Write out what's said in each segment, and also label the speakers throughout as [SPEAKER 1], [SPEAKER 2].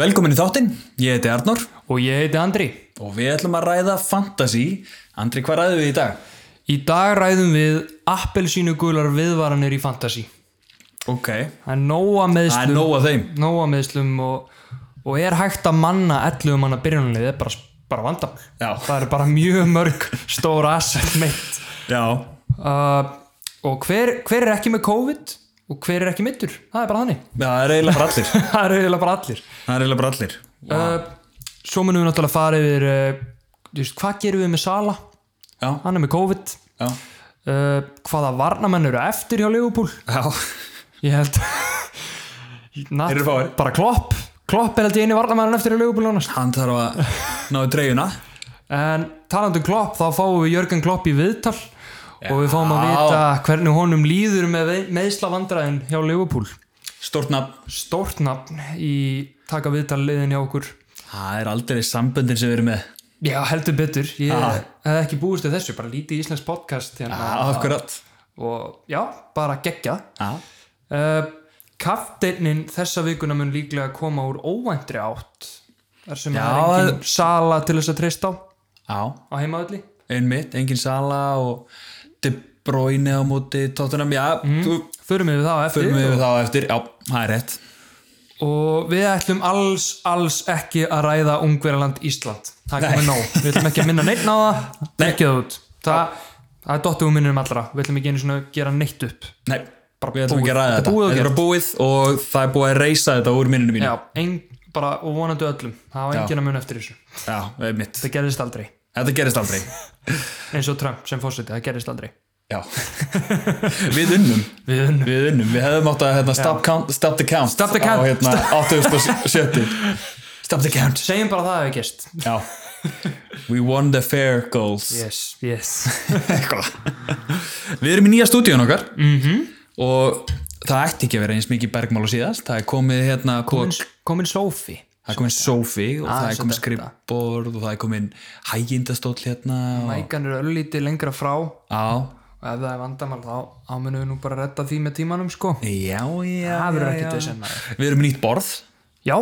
[SPEAKER 1] Velkomin í þáttinn, ég heiti Arnór
[SPEAKER 2] Og ég heiti Andri.
[SPEAKER 1] og við ætlum að ræða fantasy. Andri, hvað ræðum við í dag?
[SPEAKER 2] Í dag ræðum við appelsínu gular viðvaranir í fantasy.
[SPEAKER 1] Ok,
[SPEAKER 2] Það er nóga
[SPEAKER 1] það er
[SPEAKER 2] meðslum,
[SPEAKER 1] nóg af þeim.
[SPEAKER 2] nóga meðslum og, og er hægt að manna 11 manna byrjunlið er bara, bara vandamál.
[SPEAKER 1] Já.
[SPEAKER 2] Það er bara mjög mörg stóra asset meitt.
[SPEAKER 1] Já,
[SPEAKER 2] Uh, og hver, hver er ekki með COVID og hver er ekki mittur? Það er bara þannig.
[SPEAKER 1] það er eiginlega bara allir.
[SPEAKER 2] Það eru eiginlega bara allir.
[SPEAKER 1] Það er eiginlega bara allir.
[SPEAKER 2] Uh, svo munum við náttúrulega fara yfir, uh, þú veist, hvað gerum við með Sala?
[SPEAKER 1] Já,
[SPEAKER 2] Hann er með COVID.
[SPEAKER 1] já,
[SPEAKER 2] Uh, hvaða varnamenn eru eftir hjá Liverpool?
[SPEAKER 1] já,
[SPEAKER 2] Ég held Natt,
[SPEAKER 1] Eru fáir?
[SPEAKER 2] Bara klopp Klopp er held ég einu varnamæðan eftir í lögubúlunast
[SPEAKER 1] hann þarf að náðu dreifuna.
[SPEAKER 2] En talandi um klopp þá fáum við Jörgen Klopp í viðtal og við fáum að vita hvernig honum líður með meðslavandræðin hjá Liverpool
[SPEAKER 1] Stort nafn.
[SPEAKER 2] Stórt nafn í taka viðtal liðin hjá okkur
[SPEAKER 1] Það er aldrei samböndin sem við erum með.
[SPEAKER 2] Já, heldur betur Ég
[SPEAKER 1] Ah.
[SPEAKER 2] hef ekki búist við þessu, bara lítið íslensk podcast hérna.
[SPEAKER 1] Akkurat.
[SPEAKER 2] og já, bara geggjað
[SPEAKER 1] Já,
[SPEAKER 2] Uh, Kafteinin þessa vikuna mun líklega koma úr óvæntri átt þar sem
[SPEAKER 1] Já,
[SPEAKER 2] það er engin sala til þess að treysta á
[SPEAKER 1] já,
[SPEAKER 2] á heimaðalli
[SPEAKER 1] einmitt, engin sala og De Bruyne á móti tóttunum. Já, þú
[SPEAKER 2] förum við það á eftir
[SPEAKER 1] förum við þá eftir. Já, það er rétt.
[SPEAKER 2] og við ætlum alls, alls ekki að ræða Ungverjaland Ísland það
[SPEAKER 1] Nei.
[SPEAKER 2] komið nóg, við ætlum ekki að minna neitt á það ekki það út það, það er dottum minnum allra, við ætlum ekki einu svona að gera neitt upp
[SPEAKER 1] Nei,
[SPEAKER 2] Bara
[SPEAKER 1] við ætlum
[SPEAKER 2] búið.
[SPEAKER 1] ekki að ræða
[SPEAKER 2] Þetta
[SPEAKER 1] þetta.
[SPEAKER 2] er búið
[SPEAKER 1] Þetta er bara búið
[SPEAKER 2] og
[SPEAKER 1] og það er búið að reysa þetta úr minninu mínu.
[SPEAKER 2] já, ein, bara og vonandi öllum það var engin að mun eftir þessu,
[SPEAKER 1] Já, einmitt.
[SPEAKER 2] það gerðist aldrei
[SPEAKER 1] Þetta gerist aldrei.
[SPEAKER 2] eins og Trump sem fórseti, það gerðist aldrei
[SPEAKER 1] Já. við unnum.
[SPEAKER 2] við unnum
[SPEAKER 1] Við unnum. Við hefðum átt að hérna, stop, count, stop the count.
[SPEAKER 2] Stop the count.
[SPEAKER 1] Á hérna 870. stop the count.
[SPEAKER 2] segjum bara það hefur gist
[SPEAKER 1] Já. We won the fair goals.
[SPEAKER 2] yes, yes
[SPEAKER 1] Eitthvað. við erum í nýja stúdíun okkar. Mm
[SPEAKER 2] Mhm.
[SPEAKER 1] -hmm. Og það ætti ekki að vera eins mikið bergmál og síðast. Það er komið hérna komin,
[SPEAKER 2] komin Sofi
[SPEAKER 1] Það er komin sófi og það er komin
[SPEAKER 2] Aðeins um að detta.
[SPEAKER 1] skrippborð og það er komin hægindastóll hérna og...
[SPEAKER 2] mækan eru öllítið lengra frá og
[SPEAKER 1] Já,
[SPEAKER 2] ef það er vandamál þá, þá munum við nú bara redda því með tímanum sko
[SPEAKER 1] já, já,
[SPEAKER 2] það verður ekki
[SPEAKER 1] já,
[SPEAKER 2] til
[SPEAKER 1] já.
[SPEAKER 2] sem maður
[SPEAKER 1] Við erum í nýtt borð,
[SPEAKER 2] já,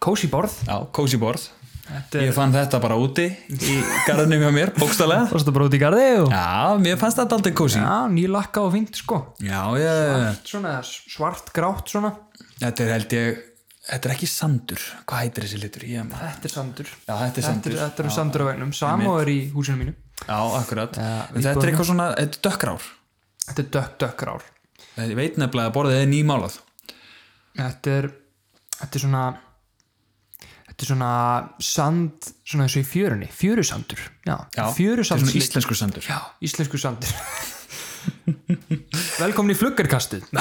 [SPEAKER 2] kósi borð
[SPEAKER 1] já, kósi borð
[SPEAKER 2] þetta
[SPEAKER 1] Ég
[SPEAKER 2] er
[SPEAKER 1] fann þetta bara úti í garðinum hjá mér, bókstælega
[SPEAKER 2] fórstu bara út í garði og
[SPEAKER 1] Já, mér fannst þetta aldrei kósi Já,
[SPEAKER 2] já, nýlakka og fínt sko
[SPEAKER 1] já,
[SPEAKER 2] Allt svona svart grátt svona
[SPEAKER 1] þetta er held ég Þetta er ekki sandur, hvað heitir þessi litur? Ég, man-
[SPEAKER 2] þetta er sandur
[SPEAKER 1] já, þetta er
[SPEAKER 2] þetta
[SPEAKER 1] sandur
[SPEAKER 2] er, þetta er sandur á vegnum, Samo er í húsinu mínu
[SPEAKER 1] Já, akkurat
[SPEAKER 2] Já,
[SPEAKER 1] En Þetta er eitthvað svona, þetta er dökkrár
[SPEAKER 2] þetta er dökk dökk rár
[SPEAKER 1] Ég veit nefnilega að borðið er nýmálað
[SPEAKER 2] þetta er þetta er svona þetta er svona sand svona eins og í fjörunni, fjörusandur já,
[SPEAKER 1] Já, þetta er
[SPEAKER 2] fjörusandur
[SPEAKER 1] svona íslenskur sandur
[SPEAKER 2] já, íslensku sandur velkomin í fluggarkastið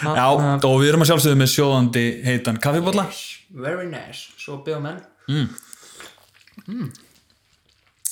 [SPEAKER 1] Já. Já, og við erum að sjálfsögðu með sjóðandi heitan kaffibólla.
[SPEAKER 2] very nice, svo byggðum enn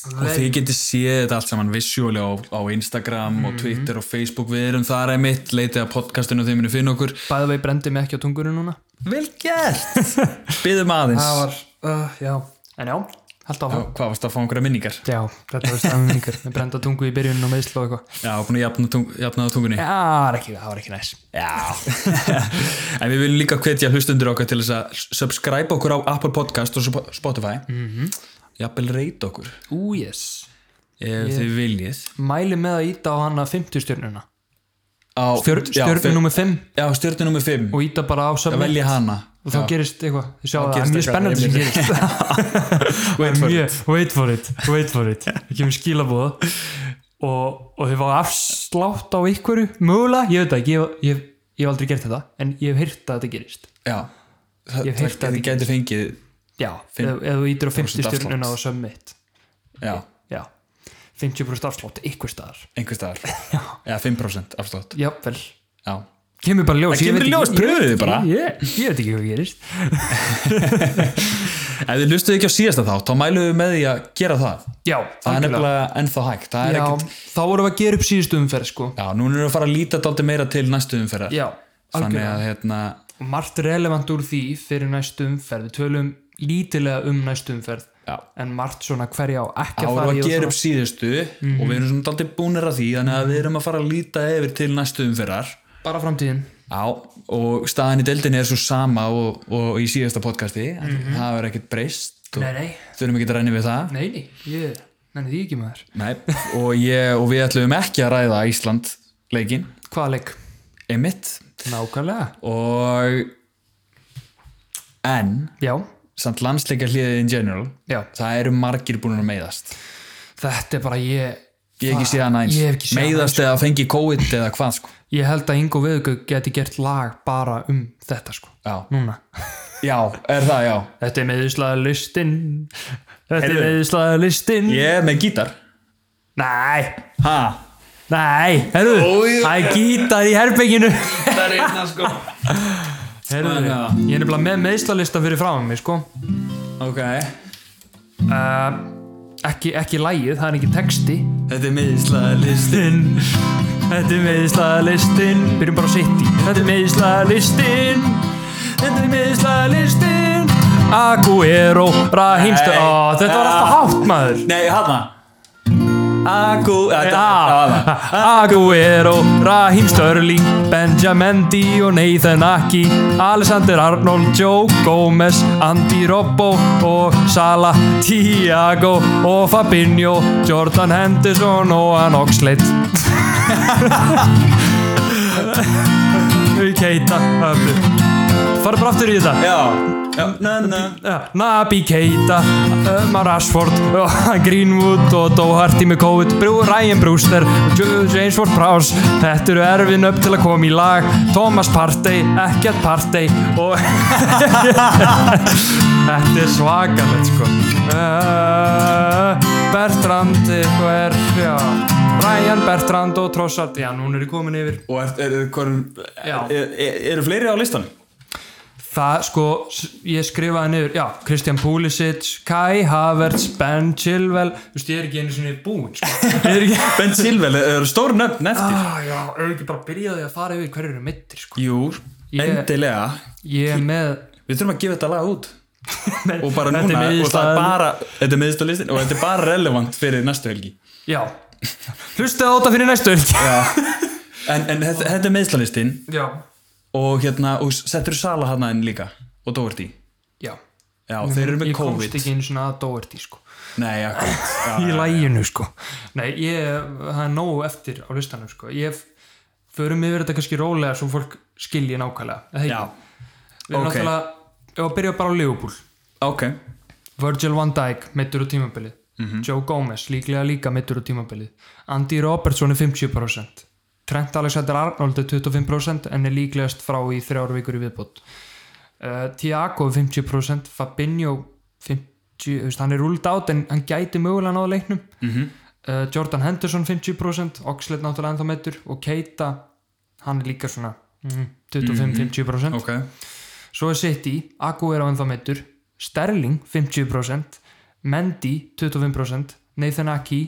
[SPEAKER 1] Og þið getið séð þetta allt saman visjóli á, á Instagram
[SPEAKER 2] Mhm.
[SPEAKER 1] og Twitter og Facebook. Við erum þar einmitt, leitið að podcastinu og þið munu finna okkur.
[SPEAKER 2] bæði vegi brendi mig ekki á tungurinn núna
[SPEAKER 1] Vel gert! Byðum aðeins.
[SPEAKER 2] það var, uh, já, en já held
[SPEAKER 1] Já,
[SPEAKER 2] áfram
[SPEAKER 1] Hvað varst að fá einhverja minningar?
[SPEAKER 2] já, þetta var stafnum yngur með brenda tungu í byrjunum og meðslu og eitthvað
[SPEAKER 1] Já, búin að jafna, tung, jafna á tungunni.
[SPEAKER 2] já, það var ekki, það var ekki næs
[SPEAKER 1] Já. en við viljum líka hvetja hlustundur okkar til þess að subscribe okkur á Apple Podcast og Sp- Spotify. Mm
[SPEAKER 2] Mhm.
[SPEAKER 1] -hmm. Jafnvel reyta okkur
[SPEAKER 2] ú, yes,
[SPEAKER 1] ef þið viljið.
[SPEAKER 2] mæli með að íta á hana 50 stjörnuna
[SPEAKER 1] Á-
[SPEAKER 2] Stjörn,
[SPEAKER 1] já,
[SPEAKER 2] stjörnum nummer 5
[SPEAKER 1] Já, stjörnum nummer 5
[SPEAKER 2] og íta bara á
[SPEAKER 1] að
[SPEAKER 2] submit
[SPEAKER 1] velja hana
[SPEAKER 2] og þá gerist eitthvað, þið sjá það, það
[SPEAKER 1] gerist
[SPEAKER 2] er mjög
[SPEAKER 1] eitthvað,
[SPEAKER 2] spennandi sem
[SPEAKER 1] einmitt.
[SPEAKER 2] gerist
[SPEAKER 1] Wait for it.
[SPEAKER 2] mjög, wait for it, wait for it ég kemur skilabóð og, og þið fá afslátt á ykkur mögulega, ég veit það ekki ég, ég, ég hef aldrei gert þetta, en ég hef heyrt að þetta gerist
[SPEAKER 1] Já, Þa-
[SPEAKER 2] Ég hef heyrt
[SPEAKER 1] það
[SPEAKER 2] að
[SPEAKER 1] þið gæti fengið
[SPEAKER 2] já, ef, ef þú ítir á 50
[SPEAKER 1] afslátt.
[SPEAKER 2] stjórnuna á submit
[SPEAKER 1] já,
[SPEAKER 2] já, 50% afslátt ykkur staðar,
[SPEAKER 1] einhver staðar eða 5% afslátt
[SPEAKER 2] jáfnvel
[SPEAKER 1] Já,
[SPEAKER 2] kemur bara í
[SPEAKER 1] Það
[SPEAKER 2] ljós, ég
[SPEAKER 1] kemur
[SPEAKER 2] veit
[SPEAKER 1] í ljós,
[SPEAKER 2] ekki- ég-
[SPEAKER 1] pröfuðu bara.
[SPEAKER 2] ég, ég, ég veit ekki hvað gerist
[SPEAKER 1] ef þið lustuðu ekki á síðasta þátt þá mælum við með því að gera það
[SPEAKER 2] já,
[SPEAKER 1] Það er
[SPEAKER 2] algjörlega.
[SPEAKER 1] nefnilega ennþá hægt Það er
[SPEAKER 2] já,
[SPEAKER 1] ekkert
[SPEAKER 2] þá vorum við að gera upp síðustu umferð sko
[SPEAKER 1] Já, núna erum við að fara að líta dálítið meira til næstu umferðar
[SPEAKER 2] já,
[SPEAKER 1] Þannig
[SPEAKER 2] algjörlega
[SPEAKER 1] að hérna
[SPEAKER 2] og margt relevant úr því fyrir næstu umferð við tölum lítilega um næstu umferð
[SPEAKER 1] Já.
[SPEAKER 2] en margt svona hverja á
[SPEAKER 1] Þá
[SPEAKER 2] ekki að
[SPEAKER 1] erum við
[SPEAKER 2] fara í
[SPEAKER 1] að
[SPEAKER 2] og
[SPEAKER 1] gera
[SPEAKER 2] svona-
[SPEAKER 1] upp síðustu og við erum svona daldið búnir að því þannig að við erum að fara að líta yfir til næstu umferðar
[SPEAKER 2] bara framtíðin
[SPEAKER 1] Já, og staðan í deildinni er svo sama og, og í síðasta podcasti
[SPEAKER 2] Mhm.
[SPEAKER 1] það verður ekkert breyst og
[SPEAKER 2] Nei, nei.
[SPEAKER 1] þurfum ekki að ræna við það
[SPEAKER 2] Nei, nei, ég, nenni því ekki maður
[SPEAKER 1] Nei. og, ég, og við ætlum ekki að ræða Ísland leikin,
[SPEAKER 2] Hvaða leik?
[SPEAKER 1] emitt
[SPEAKER 2] Nákvæmlega
[SPEAKER 1] og en
[SPEAKER 2] Já,
[SPEAKER 1] samt landsleika hliðið in general
[SPEAKER 2] já,
[SPEAKER 1] það eru margir búin að meiðast
[SPEAKER 2] þetta er bara ég
[SPEAKER 1] ég hef ekki séð hann
[SPEAKER 2] Ég hef
[SPEAKER 1] aðeins
[SPEAKER 2] ekki séð hana eins.
[SPEAKER 1] meiðast eða fengi COVID eða hvað sko
[SPEAKER 2] Ég held að Ingo Veðugau geti gert lag bara um þetta sko
[SPEAKER 1] já,
[SPEAKER 2] Núna
[SPEAKER 1] já er það já
[SPEAKER 2] Þetta er meðislaða listin Þetta
[SPEAKER 1] Heyrðu.
[SPEAKER 2] er meðislaða listin
[SPEAKER 1] ég er með gítar
[SPEAKER 2] Nei,
[SPEAKER 1] ha
[SPEAKER 2] nei, herru
[SPEAKER 1] Ó, já.
[SPEAKER 2] Það er gítar í herbygginu
[SPEAKER 1] það er einna sko
[SPEAKER 2] Herru,
[SPEAKER 1] Svona, já.
[SPEAKER 2] ég er nefnilega með meðislalista fyrir fram mig sko
[SPEAKER 1] ok
[SPEAKER 2] uh, ekki, ekki lægið, það er ekki texti
[SPEAKER 1] þetta er miðislaða listi
[SPEAKER 2] Listinn, þetta er meðislaða listin Byrjum bara að setja Þetta er meðislaða listin Þetta er meðislaða listin Aguero, Rahimstu
[SPEAKER 1] Nei.
[SPEAKER 2] Ó, Þetta var alltaf hátt maður
[SPEAKER 1] nei hana Agu þetta
[SPEAKER 2] Ah, Aguero, Raheem Störling, Benjamin D og Nathan Aki, Alexander Arnold, Joe Gomez, Andy Robbo og Sala, Thiago og Fabinho, Jordan Henderson og Ann Oxlade. Keita, öflu. Farðu bara aftur í þetta.
[SPEAKER 1] já já na na
[SPEAKER 2] Já, Nabi Keita, Ömar Rashford, uh, Greenwood og Doherty með COVID, Brú, Ryan Brewster, Ju- James Ward Prowse, þetta eru erfin upp til að koma í lag, Thomas Partey, ekkert Partey og þetta er svakalegt sko. Uh, Bertrand, eitthvað er, já, Ryan Bertrand og Trossard, já, núna er ég komin yfir.
[SPEAKER 1] og er, er, er,
[SPEAKER 2] Já.
[SPEAKER 1] er, er, eru fleiri á listanum
[SPEAKER 2] Það sko, s- ég skrifaði niður, já, Kristján Púlisic, Kai Havertz, Ben Chilwell, þú veist, ég er ekki einu sinni búinn, sko. Ég er ekki...
[SPEAKER 1] Ben Silvel eru stór nöfn eftir
[SPEAKER 2] Ah, já, er ekki bara byrjaði að fara yfir hverju eru mittir, sko.
[SPEAKER 1] jú
[SPEAKER 2] Ég-
[SPEAKER 1] endilega
[SPEAKER 2] Ég er með...
[SPEAKER 1] við þurfum að gefa þetta lag út
[SPEAKER 2] Men,
[SPEAKER 1] og bara núna og það er bara þetta er miðist á listin og þetta er bara relevant fyrir næstu helgi
[SPEAKER 2] Já. Hlustaði á þetta fyrir næstu öll.
[SPEAKER 1] en, en þetta, þetta er miðslalistin
[SPEAKER 2] Já.
[SPEAKER 1] og hérna og settur Sala hann aðeins líka og Doherty
[SPEAKER 2] Já.
[SPEAKER 1] já þeir eru með
[SPEAKER 2] Ég komst
[SPEAKER 1] COVID
[SPEAKER 2] ekki einu sinna að Doherty, sko.
[SPEAKER 1] nei akkurat já,
[SPEAKER 2] Í
[SPEAKER 1] já.
[SPEAKER 2] læginu, sko. Nei, ég, það er nógu eftir á listanum, sko. Ég förum yfir þetta kannski rólega svo fólk skilji nákvæmlega. er það ekki?
[SPEAKER 1] já
[SPEAKER 2] Við erum
[SPEAKER 1] Ok.
[SPEAKER 2] náttúrulega, ef að byrja bara á Liverpool
[SPEAKER 1] ok
[SPEAKER 2] Virgil van Dijk, mittur á tímabilið Joe Gomez, líklega líka mittur á tímabilið Andy Robertson er 50% Trent Alexander-Arnold er 25% en er líklegast frá í þrjár vikur í viðbót uh, Thiago er 50% Fabinho 50, þú veist, hann er rúld át en hann gæti mögulega náða leiknum
[SPEAKER 1] Mhm.
[SPEAKER 2] uh, Jordan Henderson 50% Oxlade náttúrulega ennþá mittur og Keita, hann er líka svona mm, 25-50%
[SPEAKER 1] ok
[SPEAKER 2] Svo er City, Akku er á ennþá meittur Sterling 50% Mendy 25% Nathan Aki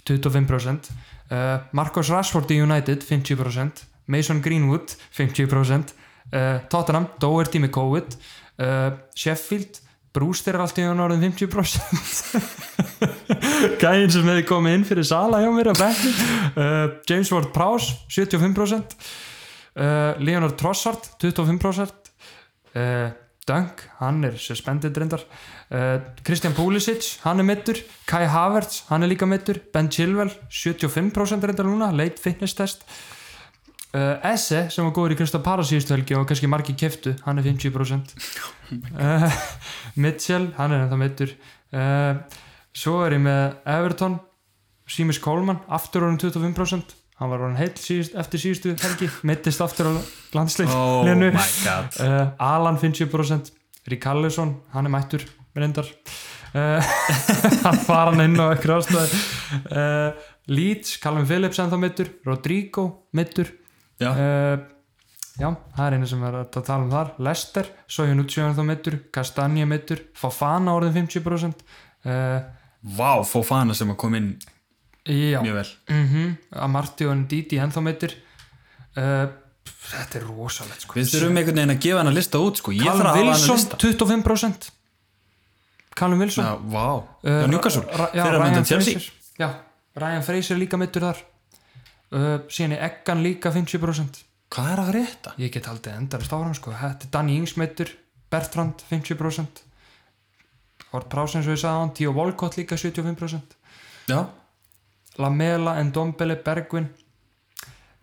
[SPEAKER 2] 25% uh, Marcos Rashford í United 50% Mason Greenwood 50% uh, Tottenham, Doherty með COVID uh, Sheffield Brewster er allt í hann orðin 50% Gæinn sem hefði komið inn fyrir Sala hjá mér á bekk uh, James Ward-Prowse 75% uh, Leonard Trossard 25% uh, Dunk, hann er suspended reyndar uh, Christian Pulisic, hann er mittur Kai Havertz, hann er líka mittur Ben Chilwell, 75% reyndar núna late fitness test uh, Esse, sem var góður í Krista Para síðustu helgi og kannski margi keftu, hann er 50% uh, Mitchell, hann er ennþá mittur uh, svo er ég með Everton Seamus Coleman, aftur orðin 25% hann var orðin heill síðust, eftir síðustu helgi mittist aftur á landsleik
[SPEAKER 1] oh
[SPEAKER 2] Lenu.
[SPEAKER 1] my god
[SPEAKER 2] uh, Alan 50% Ríkarlesson, hann er mættur reyndar uh, hann fara hann inn á ekkur ástæð uh, Leeds, Calvin Phillips ennþá mittur, Rodrigo mittur
[SPEAKER 1] Já.
[SPEAKER 2] uh, já, það er einu sem er hægt að tala um þar Lester, Sojunucci ennþá mittur Kastanje mittur, Fofana orðin 50% uh,
[SPEAKER 1] vá Fofana sem að kom inn
[SPEAKER 2] já,
[SPEAKER 1] mjög vel
[SPEAKER 2] mm Amartey og Ndidi ennþá mittur uh, þetta er rosalegt sko
[SPEAKER 1] við þurfum einhvern veginn að gefa hann að lista út sko ég þarf að
[SPEAKER 2] Callum
[SPEAKER 1] hafa hann að
[SPEAKER 2] Wilson
[SPEAKER 1] lista
[SPEAKER 2] 25% Callum Wilson
[SPEAKER 1] já vá
[SPEAKER 2] Uh,
[SPEAKER 1] já Newcastle
[SPEAKER 2] Ra- já,
[SPEAKER 1] þeirra
[SPEAKER 2] Ryan
[SPEAKER 1] myndan Chelsea
[SPEAKER 2] Fraser. já, Ryan Fraser líka mittur þar uh, síðan er Eggan líka 50%
[SPEAKER 1] Hvað er að frétta?
[SPEAKER 2] ég get haldið endalist áfram sko þetta er Danny Ings meittur, Bertrand 50% Hort Prás eins og ég sagði á hann Tíu Volkott líka 75%
[SPEAKER 1] Já,
[SPEAKER 2] Lamela, Ndombele, Bergvin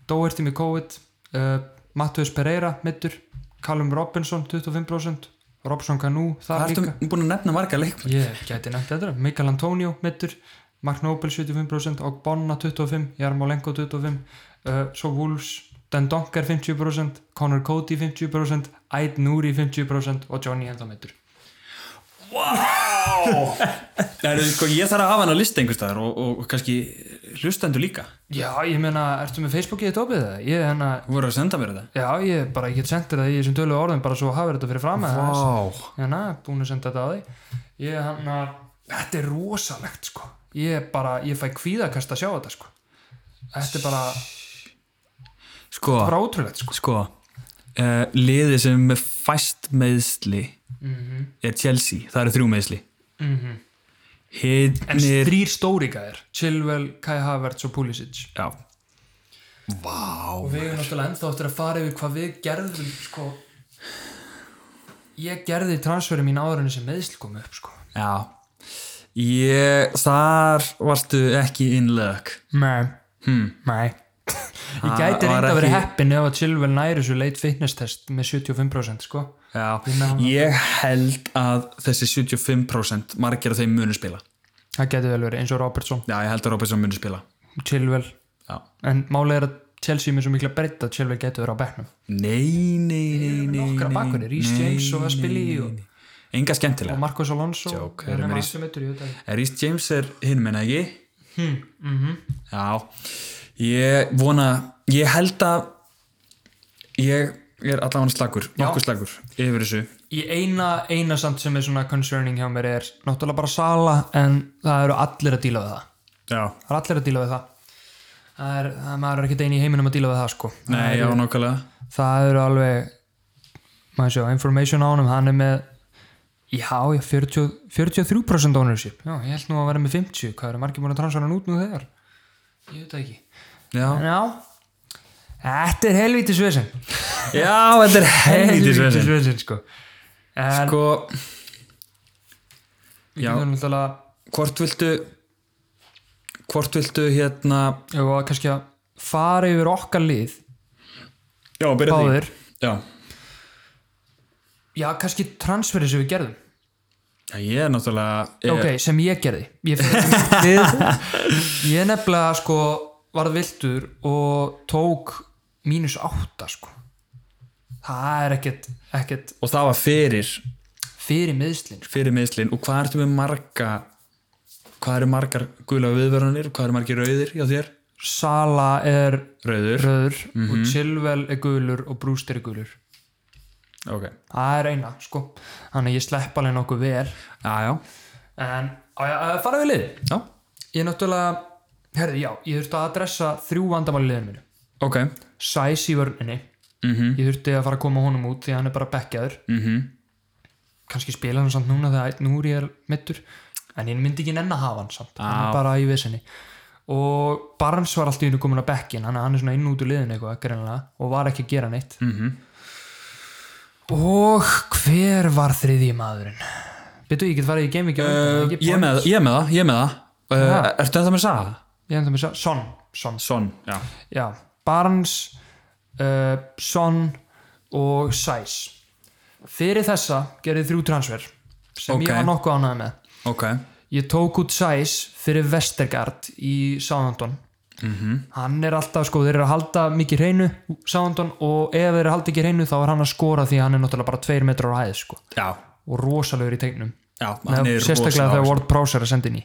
[SPEAKER 2] Doherty með COVID uh, Matthäus Pereira meittur, Callum Robinson 25% Robson Canu
[SPEAKER 1] það
[SPEAKER 2] þar
[SPEAKER 1] ertu
[SPEAKER 2] líka
[SPEAKER 1] búin að nefna marga leikmenn
[SPEAKER 2] ég gæti nefnt þetta, Mikael Antonio meittur, Mark Nobel 75% og Bonna 25, Jarmolenko 25 uh, svo Wolves Dan Donker 50%, Connor Cody 50%, Aid Nuri 50% og Johnny ennþá meittur
[SPEAKER 1] Wow! er, sko, ég þarf að hafa hann að lista einhvers staðar og, og kannski hlustendur líka
[SPEAKER 2] já, ég meina, ertu með Facebookið þetta opið það? Ég, hana,
[SPEAKER 1] Þú voru að senda mér þetta
[SPEAKER 2] já, ég bara, ég get sendt þér það í þessum tölu orðum bara svo hafið þetta fyrir fram að þess
[SPEAKER 1] Vá
[SPEAKER 2] hérna, búin að senda þetta á þig ég hann að, þetta er rosalegt sko, ég bara, ég fæ kvíðakast að sjá þetta sko þetta er bara,
[SPEAKER 1] Sko,
[SPEAKER 2] bara ótrúlegt sko
[SPEAKER 1] sko uh, liðið sem er fæst meðsli
[SPEAKER 2] Mhm.
[SPEAKER 1] er Chelsea, það eru þrjú meðsli
[SPEAKER 2] mm En
[SPEAKER 1] hinnir
[SPEAKER 2] þrýr stóri gæðir Chilwell, Kai Havertz og Pulisic
[SPEAKER 1] já vá
[SPEAKER 2] Og við erum náttúrulega ennþá eftir að fara yfir hvað við gerðum sko Ég gerði transferið mín áður en þessi meðsl komu upp sko
[SPEAKER 1] já ég, þar varstu ekki in luck
[SPEAKER 2] Nei, hmm. nei Ég
[SPEAKER 1] Það
[SPEAKER 2] gæti
[SPEAKER 1] var
[SPEAKER 2] reynda að vera
[SPEAKER 1] ekki-
[SPEAKER 2] heppin ef að Chilwell næri þessu leit fitness test með 75% sko
[SPEAKER 1] já,
[SPEAKER 2] náðum
[SPEAKER 1] ég held að þessi 75% margir af þeim munu spila
[SPEAKER 2] Það gæti vel verið eins og Robertson,
[SPEAKER 1] já, ég held að Robertson munu spila
[SPEAKER 2] Chilwell
[SPEAKER 1] já.
[SPEAKER 2] En málega er að Chelsea er með svo mikla breytt að Chilwell gæti verið á bekknum
[SPEAKER 1] nei, nei, nei, nei
[SPEAKER 2] nokkra
[SPEAKER 1] nei,
[SPEAKER 2] bakverði, Reece
[SPEAKER 1] nei,
[SPEAKER 2] James og
[SPEAKER 1] nei,
[SPEAKER 2] Aspili
[SPEAKER 1] nei,
[SPEAKER 2] og-
[SPEAKER 1] nei. enga skemmtilega
[SPEAKER 2] Og Marcos Alonso
[SPEAKER 1] Joke,
[SPEAKER 2] hann
[SPEAKER 1] erum við í-
[SPEAKER 2] er maður sem meiddur í þetta.
[SPEAKER 1] Rhys James er hinn menna ekki
[SPEAKER 2] Hm, mhm.
[SPEAKER 1] hmm, já ég vona, ég held að ég er allavega slagur, nokkuð slagur yfir þessu
[SPEAKER 2] Í eina, eina samt sem er svona concerning hjá mér er náttúrulega bara sala en það eru allir að díla við það.
[SPEAKER 1] já,
[SPEAKER 2] Það eru allir að díla við það. Það er, það, maður er ekkert eini í heiminum að díla við það sko.
[SPEAKER 1] nei, já, nokkulega
[SPEAKER 2] Það eru alveg, maður sjá, information á honum, hann er með, já, já, 40, 43% ownership. Já, ég held nú að vera með 50, hvað eru margir búin að transfara hann út nú þegar? Ég veit það ekki.
[SPEAKER 1] já,
[SPEAKER 2] Já, þetta er helvítis vesinn.
[SPEAKER 1] já þetta er helvítis vesen
[SPEAKER 2] vesinn sko. En
[SPEAKER 1] sko,
[SPEAKER 2] við
[SPEAKER 1] já.
[SPEAKER 2] getum náttúrulega...
[SPEAKER 1] hvort viltu hvort viltu hérna
[SPEAKER 2] Ef að kannski að fara yfir okkar lið
[SPEAKER 1] já, byrja því
[SPEAKER 2] báðir,
[SPEAKER 1] já,
[SPEAKER 2] já kannski transferið sem við gerðum
[SPEAKER 1] já, ég er náttúrulega ég,
[SPEAKER 2] ok, sem ég gerði ég, við, ég nefnilega sko varð viltur og tók mínus átta sko það er ekkert, ekkert
[SPEAKER 1] og það var fyrir
[SPEAKER 2] fyrir miðslin sko.
[SPEAKER 1] fyrir meðslinn og hvað ertu með marga hvað eru margar gula viðvörunir hvað eru margir rauðir hjá þér?
[SPEAKER 2] Sala er
[SPEAKER 1] Rauður,
[SPEAKER 2] röður og Chilwell er gulur og Brewster er gulur
[SPEAKER 1] ok
[SPEAKER 2] það er eina sko þannig að ég slepp alveg nokkuð vel
[SPEAKER 1] Já, já,
[SPEAKER 2] en á ég að fara við lið
[SPEAKER 1] já,
[SPEAKER 2] Ég náttúrulega, herði, já, ég þurfti að adressa þrjú vandamál í liðinu mínu.
[SPEAKER 1] ok
[SPEAKER 2] Sæs í vörninni,
[SPEAKER 1] Mhm.
[SPEAKER 2] ég þurfti að fara að koma honum út því að hann er bara bekkjaður.
[SPEAKER 1] mm
[SPEAKER 2] Kanski spila hann samt núna þegar einn úr ég er mittur, en ég myndi ekki nenn að hafa hann samt, hann
[SPEAKER 1] Á.
[SPEAKER 2] er bara í vissinni. Og Barnes var alltaf innu komin að bekkin, hann, hann er svona inn út úr liðinu eitthvað, greinlega, og var ekki að gera neitt.
[SPEAKER 1] Mhm.
[SPEAKER 2] Og hver var þriðji maðurinn? Byrju, ég get farið í gaming
[SPEAKER 1] uh, ég, er með, ég er með það, ég er með það uh,
[SPEAKER 2] Já.
[SPEAKER 1] Ertu ennþá með Saha?
[SPEAKER 2] Ég enda með Son, Son,
[SPEAKER 1] Son, já
[SPEAKER 2] Já, Barnes uh, Son og Sæs fyrir þessa gerði þrjú transfer sem
[SPEAKER 1] Ok.
[SPEAKER 2] ég var nokkuð ánægð með
[SPEAKER 1] Ok,
[SPEAKER 2] ég tók út Sæs fyrir Vestergaard í Southampton -hmm.
[SPEAKER 1] Mhm.
[SPEAKER 2] hann er alltaf sko, þeir eru að halda mikið hreinu Southampton og ef þeir eru að halda ekki hreinu þá er hann að skora því að hann er náttúrulega bara tveir metrar á hæð sko
[SPEAKER 1] já,
[SPEAKER 2] og rosalegur í tegnum
[SPEAKER 1] já hann er
[SPEAKER 2] sérstaklega
[SPEAKER 1] rosalega
[SPEAKER 2] þegar Ward Prowse er að senda inn í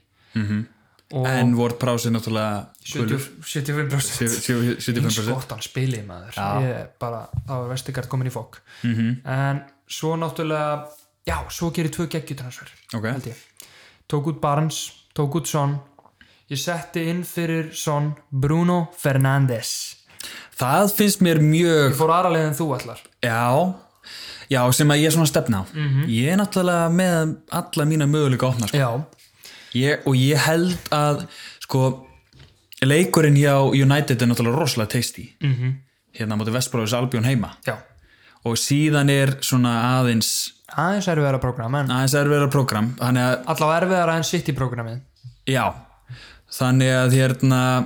[SPEAKER 1] áhugasamur. En Word Prowse er náttúrulega gulur.
[SPEAKER 2] 75%
[SPEAKER 1] Sjö- sjö-
[SPEAKER 2] eins
[SPEAKER 1] 75%
[SPEAKER 2] gott hann spilið maður ég bara, þá er Vestegard komin í fokk -hmm. en svo náttúrulega já, svo gerir tvö geggjutransfer
[SPEAKER 1] Ok,
[SPEAKER 2] held ég, tók út Barnes tók út Son ég setti inn fyrir Son Bruno Fernandes
[SPEAKER 1] það finnst mér mjög
[SPEAKER 2] ég fór aðra leið en þú allar
[SPEAKER 1] Já, já, sem að ég er svona að stefna á Ég er náttúrulega með alla mína möguleika opna sko.
[SPEAKER 2] já,
[SPEAKER 1] ég, og ég held að sko leikurinn hjá United er náttúrulega rosalega tasty -hmm. hérna á móti Vestbróðis Albjón heima
[SPEAKER 2] já,
[SPEAKER 1] og síðan er svona aðeins
[SPEAKER 2] aðeins erfiðara prógram en
[SPEAKER 1] aðeins erfiðara program þannig að,
[SPEAKER 2] allavega erfiðara en sitt í prógramið
[SPEAKER 1] já þannig að hérna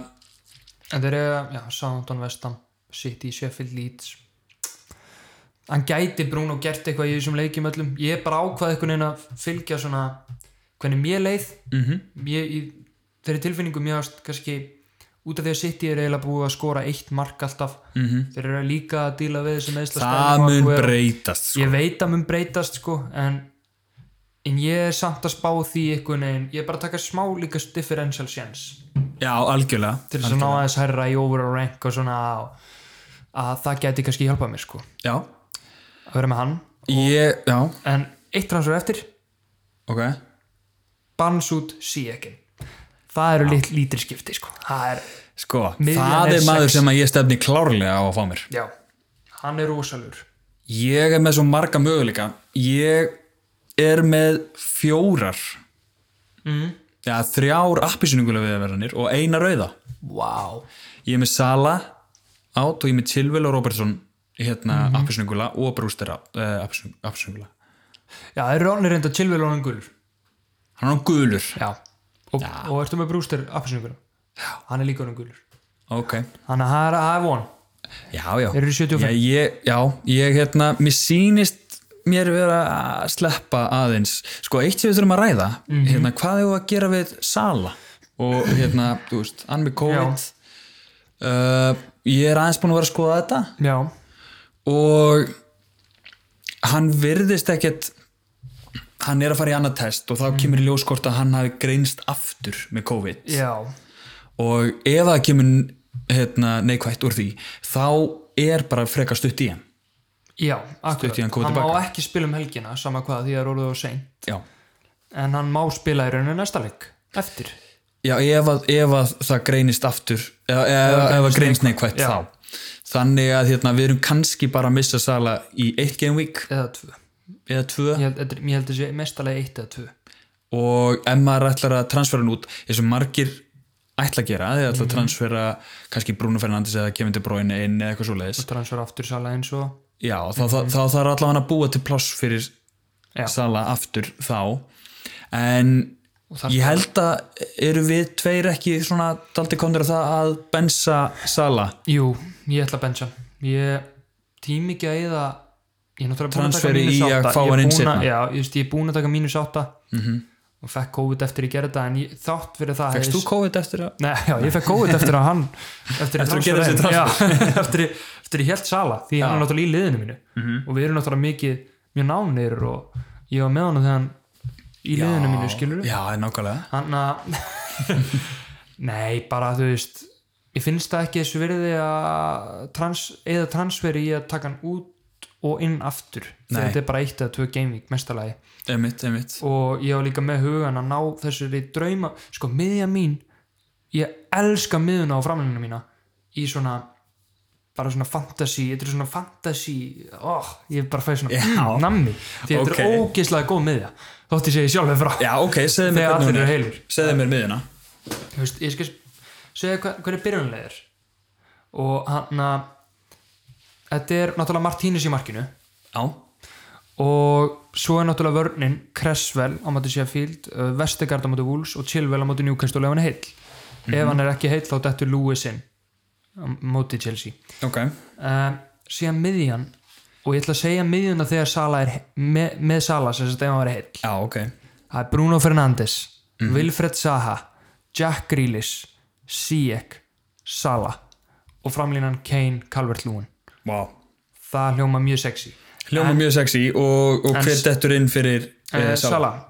[SPEAKER 2] en þeir eru, já, Southampton, Vestam City, Sheffield, Leeds hann gæti Bruno gert eitthvað í þessum leikjum öllum ég er bara ákvað einhvern veginn að fylgja svona hvernig mér leið mm
[SPEAKER 1] Mhm.
[SPEAKER 2] -hmm. ég, í, þeirri tilfinningu mér varst kannski út af því að City er eiginlega búið að skora eitt mark alltaf -hmm. þeir eru líka að díla við þessum eðsla
[SPEAKER 1] Mhm. það mun breytast sko.
[SPEAKER 2] ég veit að mun breytast sko en, en ég er samt að spá því einhvern veginn, ég er bara að taka smá líka differential chance
[SPEAKER 1] já, algjörlega
[SPEAKER 2] til þess að ná aðeins herra í overall rank og svona og að það geti kannski hjálpað mér sko
[SPEAKER 1] já,
[SPEAKER 2] að vera með hann
[SPEAKER 1] ég, já,
[SPEAKER 2] en eitt transfer eftir,
[SPEAKER 1] ok
[SPEAKER 2] bans út síekin það eru lit, lítil skipti sko það er,
[SPEAKER 1] sko,
[SPEAKER 2] Miðjan
[SPEAKER 1] það
[SPEAKER 2] er
[SPEAKER 1] er maður
[SPEAKER 2] sex.
[SPEAKER 1] sem að ég stefni klárlega á að fá mér
[SPEAKER 2] já, hann er rosalur
[SPEAKER 1] Ég er með svo marga möguleika Ég er með fjórar mm. ja, þrjár appisynningulega viðverðanir og eina rauða
[SPEAKER 2] wow,
[SPEAKER 1] Ég er með Sala átt og ég er með Chilwell og Robertson hérna mm og Brewster uh, appisynningulega
[SPEAKER 2] já, þeir eru ánir reynda chillvel og hann gulur
[SPEAKER 1] Hann er hann gulur
[SPEAKER 2] já, og, og ertu með brúster appisningur, hann er líka hann gulur
[SPEAKER 1] Ok,
[SPEAKER 2] þannig að það er- það er von
[SPEAKER 1] já, já
[SPEAKER 2] Þeir eru 75.
[SPEAKER 1] Já, ég, já, ég hérna, mér sýnist mér vera að sleppa aðeins sko, eitt sem við þurfum að ræða
[SPEAKER 2] Mhm.
[SPEAKER 1] hérna, hvað hefur að gera við Sala og hérna, þú veist, hann með COVID uh, ég er aðeins búin að vera að skoða þetta
[SPEAKER 2] já,
[SPEAKER 1] og hann virðist ekkert hann er að fara í annað test og þá kemur í ljós hvort að hann hafi greinst aftur með COVID
[SPEAKER 2] Mhm. já,
[SPEAKER 1] og ef það kemur hérna, neikvætt úr því þá er bara frekar stutt í hann
[SPEAKER 2] já,
[SPEAKER 1] Stutt
[SPEAKER 2] akkurat
[SPEAKER 1] í hann, komið
[SPEAKER 2] hann
[SPEAKER 1] tilbaka.
[SPEAKER 2] má ekki spila um helgina, sama hvað því að róluðu og sein
[SPEAKER 1] já,
[SPEAKER 2] en hann má spila í rauninu næsta leik eftir,
[SPEAKER 1] já ef, að, ef að það greinist aftur eða ef, ef að greinist neikvætt
[SPEAKER 2] Já.
[SPEAKER 1] þá þannig að hérna, við erum kannski bara að missa sala í eitt game week
[SPEAKER 2] eða tvö
[SPEAKER 1] eða tvö
[SPEAKER 2] ég held, þetta- ég held þessi mestalega eitt eða tvö
[SPEAKER 1] og ef maður ætlar að transfera hann út eins og margir ætla að gera þeir ætla að transfera kannski Bruno Fernandes eða Kevin De Bruyne inn eða eitthvað svoleiðis
[SPEAKER 2] transfer aftur sala eins og
[SPEAKER 1] já, þá, þá, þá þarf allavega að búa til pláss fyrir
[SPEAKER 2] Já.
[SPEAKER 1] Sala aftur þá en ég held að eru við tveir ekki svona daldi kondur að það að bensa Sala
[SPEAKER 2] Jú, ég ætla að bensa hann. Ég tími ekki að eða Ég er náttúrulega búin að taka
[SPEAKER 1] Transferi
[SPEAKER 2] mínus
[SPEAKER 1] í að
[SPEAKER 2] átta
[SPEAKER 1] fá
[SPEAKER 2] Ég er
[SPEAKER 1] hann inn
[SPEAKER 2] búin að-
[SPEAKER 1] seinna.
[SPEAKER 2] Já, ég veist, ég er búin að taka mínus átta og fekk COVID eftir ég gerði þetta en ég, þátt fyrir það
[SPEAKER 1] Fekst þú COVID eftir að
[SPEAKER 2] Nei, já, ég fekk COVID eftir að hann Eftir,
[SPEAKER 1] Eftir að gera þessi
[SPEAKER 2] transfer já, eftir, ég- eftir ég held sala því hann er náttúrulega í liðinu mínu
[SPEAKER 1] Mhm.
[SPEAKER 2] og við erum náttúrulega mikið mjög nánir og ég var með hann þegar hann í liðinu mínu skilur
[SPEAKER 1] Já, nákvæmlega
[SPEAKER 2] hann að nei, bara þú veist ég finnst það ekki þessu verði að trans, eða transferi í að taka hann út og inn aftur
[SPEAKER 1] Nei.
[SPEAKER 2] þegar þetta er bara eitt eða tvö gamevík mestalagi
[SPEAKER 1] Einmitt, einmitt
[SPEAKER 2] og ég var líka með hugan að ná þessari drauma sko, miðja mín ég elska miðuna á framlænina mína í svona bara svona fantasy, þetta er svona fantasy oh, ég bara fæði svona
[SPEAKER 1] Já.
[SPEAKER 2] mm, nammi, því þetta
[SPEAKER 1] Ok.
[SPEAKER 2] er ógeðslega góð miðja þótti sé ég sjálfur frá
[SPEAKER 1] Já, ok, segðu mér hvernig
[SPEAKER 2] Þegar allir
[SPEAKER 1] hún
[SPEAKER 2] eru
[SPEAKER 1] er
[SPEAKER 2] heilir.
[SPEAKER 1] Segðu mér miðuna
[SPEAKER 2] Þú veist, ég skal segja hva, hvernig byrjunlega er og hann að þetta er náttúrulega Martínez í markinu
[SPEAKER 1] Já,
[SPEAKER 2] og svo er náttúrulega vörnin Cresswell á móti Sheffield uh, Vestegard á móti Wolves og Chilwell á móti Newcastle ef hann er heill ef hann er ekki heill þá dettur Lewis inn á móti Chelsea
[SPEAKER 1] ok
[SPEAKER 2] uh, síðan miðjan og ég ætla að segja miðjuna þegar Sala er he- með, með Sala sem þetta ef hann er heill
[SPEAKER 1] Já, ok
[SPEAKER 2] Það er Bruno Fernandes,
[SPEAKER 1] Mhm.
[SPEAKER 2] Wilfred Saha, Jack Grealish, Sieg, Salah og framlínan Kane Calvert-Lewin.
[SPEAKER 1] Wow
[SPEAKER 2] Það hljóma mjög sexy.
[SPEAKER 1] Hljóma mjög sexy og, og hver dettur inn fyrir
[SPEAKER 2] Eh,
[SPEAKER 1] eh,
[SPEAKER 2] Salah.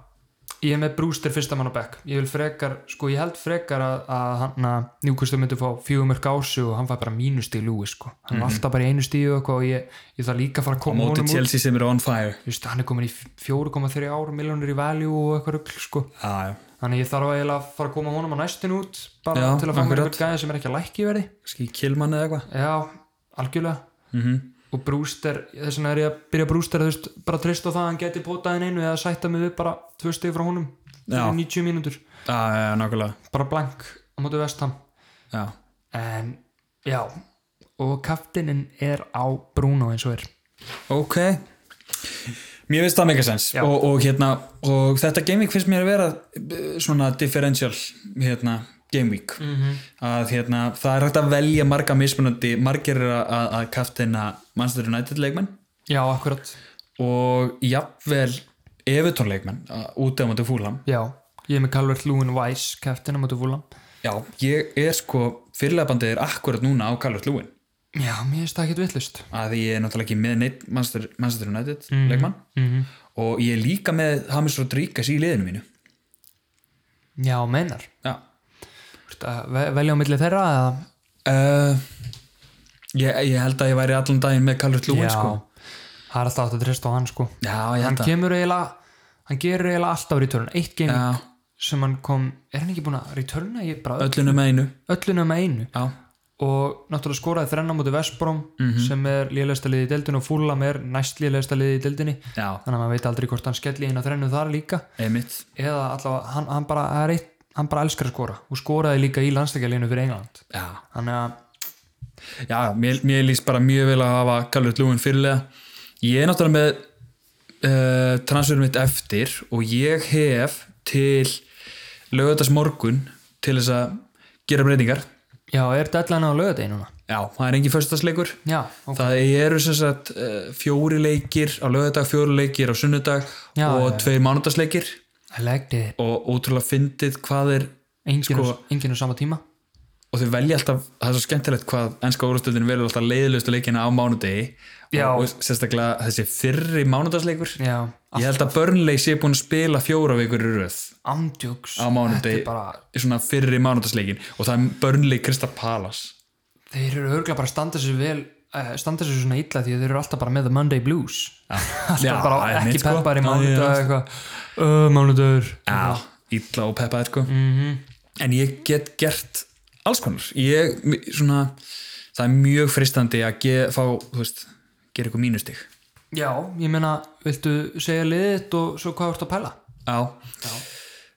[SPEAKER 2] Ég er með Brewster fyrsta mann á bekk. Ég vil frekar, sko ég held frekar að, að hann að Newcastle myndi fá fjögumörk ásu og hann fær bara mínustíð Lewis sko. Hann er alltaf bara í einu stíð og eitthvað og ég, ég þarf líka að fara að koma
[SPEAKER 1] Mhm. Móti
[SPEAKER 2] honum út.
[SPEAKER 1] Chelsea sem eru on fire
[SPEAKER 2] Þú veist, hann er komin í 4,3 ár, miljónur í value og eitthvað rugl sko.
[SPEAKER 1] Já, já
[SPEAKER 2] Þannig ég þarf eiginlega að fara að koma honum á næstin út bara
[SPEAKER 1] Já,
[SPEAKER 2] til að fá mér
[SPEAKER 1] akkurat.
[SPEAKER 2] einhvern gæði sem er ekki að lækki verði
[SPEAKER 1] Ski Kilman eða eitthvað
[SPEAKER 2] Já, algjörlega
[SPEAKER 1] Mhm.
[SPEAKER 2] -hmm. og Brewster, þess vegna er ég að byrja Brewster þú veist, bara treyst á það að hann geti potaðin einu eða sætta mig við bara tvö stegi frá honum
[SPEAKER 1] Já.
[SPEAKER 2] fyrir 90 mínútur,
[SPEAKER 1] Já, já, nákvæmlega
[SPEAKER 2] bara blank á móti vestam
[SPEAKER 1] Já,
[SPEAKER 2] en já, og kaftinin er á Bruno eins og er
[SPEAKER 1] Ok Mér finnst það mega sens
[SPEAKER 2] Já.
[SPEAKER 1] og, og, hérna, og þetta game week finnst mér að vera eh, svona differential hérna, game week -hmm. að hérna, það er hægt að velja marga mismunandi, margir er að, að kaftina Manchester United leikmenn
[SPEAKER 2] Já, akkurat
[SPEAKER 1] og jafnvel Everton leikmenn eh, að- út af mútið fúlam
[SPEAKER 2] Já, ég er með Calvert Lewin Weiss kaftina mútu fúlan
[SPEAKER 1] Já, ég er sko fyrirlegabandið er akkurat núna á Calvert Lúin
[SPEAKER 2] Já, mér finnst það ekkert villust
[SPEAKER 1] að ég er náttúrulega ekki með neitt Manchester, Manchester United leikmann Mhm. og ég er líka með Hamis Rodríguez í liðinu mínu
[SPEAKER 2] Já, meinar
[SPEAKER 1] Já
[SPEAKER 2] Ertu að ve- Velja á milli þeirra eða
[SPEAKER 1] Uh, ég, ég held að ég væri allan daginn með Calvert Lewin
[SPEAKER 2] Já,
[SPEAKER 1] sko.
[SPEAKER 2] það er alltaf átt að treysta á hann sko
[SPEAKER 1] Já, ég
[SPEAKER 2] Hann
[SPEAKER 1] held að
[SPEAKER 2] kemur eiginlega Hann gerur eiginlega alltaf return Eitt game
[SPEAKER 1] Já.
[SPEAKER 2] sem hann kom Er hann ekki búinn að returna? Ég bara
[SPEAKER 1] öllinu með um einu
[SPEAKER 2] öllunum að einu
[SPEAKER 1] Já,
[SPEAKER 2] og náttúrulega skoraði þrenna mútið Vestbrom
[SPEAKER 1] Mhm.
[SPEAKER 2] sem er lélegasta liðið í deildinu og Fúlam er næst lélegasta liðið í deildinni
[SPEAKER 1] já,
[SPEAKER 2] þannig að maður veit aldrei hvort hann skelli hérna þrennu þar líka
[SPEAKER 1] einmitt
[SPEAKER 2] eða allavega hann, hann, bara, það er eitt, hann bara elskar að skora og skoraði líka í landslækjarleginu fyrir England
[SPEAKER 1] Já,
[SPEAKER 2] þannig að
[SPEAKER 1] já mér, mér líst bara mjög vel að hafa Calvert Lewin fyrirlega Ég er náttúrulega með uh, transferum mitt eftir og ég hef til lögðast morgun til þess að gera breytingar
[SPEAKER 2] já, er deadline á lögadegi núna
[SPEAKER 1] Já, það er engin föstasleikur
[SPEAKER 2] já, ok,
[SPEAKER 1] Það eru sem sagt uh, fjóri leikir á lögadag, fjóri leikir á sunnudag
[SPEAKER 2] Já,
[SPEAKER 1] og
[SPEAKER 2] já, já.
[SPEAKER 1] tveir mánudagsleikir
[SPEAKER 2] I liked it
[SPEAKER 1] og ótrúlega fyndið hvað er
[SPEAKER 2] enginn
[SPEAKER 1] Sko-
[SPEAKER 2] sko, á sama tíma
[SPEAKER 1] og þau velja alltaf, það er svo skemmtilegt hvað ennska úrstöldin velur alltaf leiðilegustu leikina á mánudegi
[SPEAKER 2] Já.
[SPEAKER 1] og, og sérstaklega þessi fyrri mánudagsleikur
[SPEAKER 2] já,
[SPEAKER 1] ég held að Burnley sé búin að spila fjóra vikur í röð
[SPEAKER 2] andjóks
[SPEAKER 1] á mánudegi
[SPEAKER 2] Þetta er bara-
[SPEAKER 1] í svona fyrri mánudagsleikin og það er Burnley Krista Palace
[SPEAKER 2] þeir eru örgulega bara að standa sér vel eh, standa sér svona illa því að þeir eru alltaf bara með the Monday blues alltaf
[SPEAKER 1] Já,
[SPEAKER 2] bara
[SPEAKER 1] það er
[SPEAKER 2] ekki
[SPEAKER 1] mitt, sko.
[SPEAKER 2] peppar í
[SPEAKER 1] Já,
[SPEAKER 2] mánudag
[SPEAKER 1] já.
[SPEAKER 2] eitthvað, uh, mánudagur
[SPEAKER 1] Já, illa og peppaðir sko en ég get gert alls konar ég, m- svona, það er mjög fristandi að ge, fá, þú veist, gera eitthvað mínustig
[SPEAKER 2] já, ég meina, viltu segja liðið þitt og svo hvað ertu að pæla
[SPEAKER 1] Já,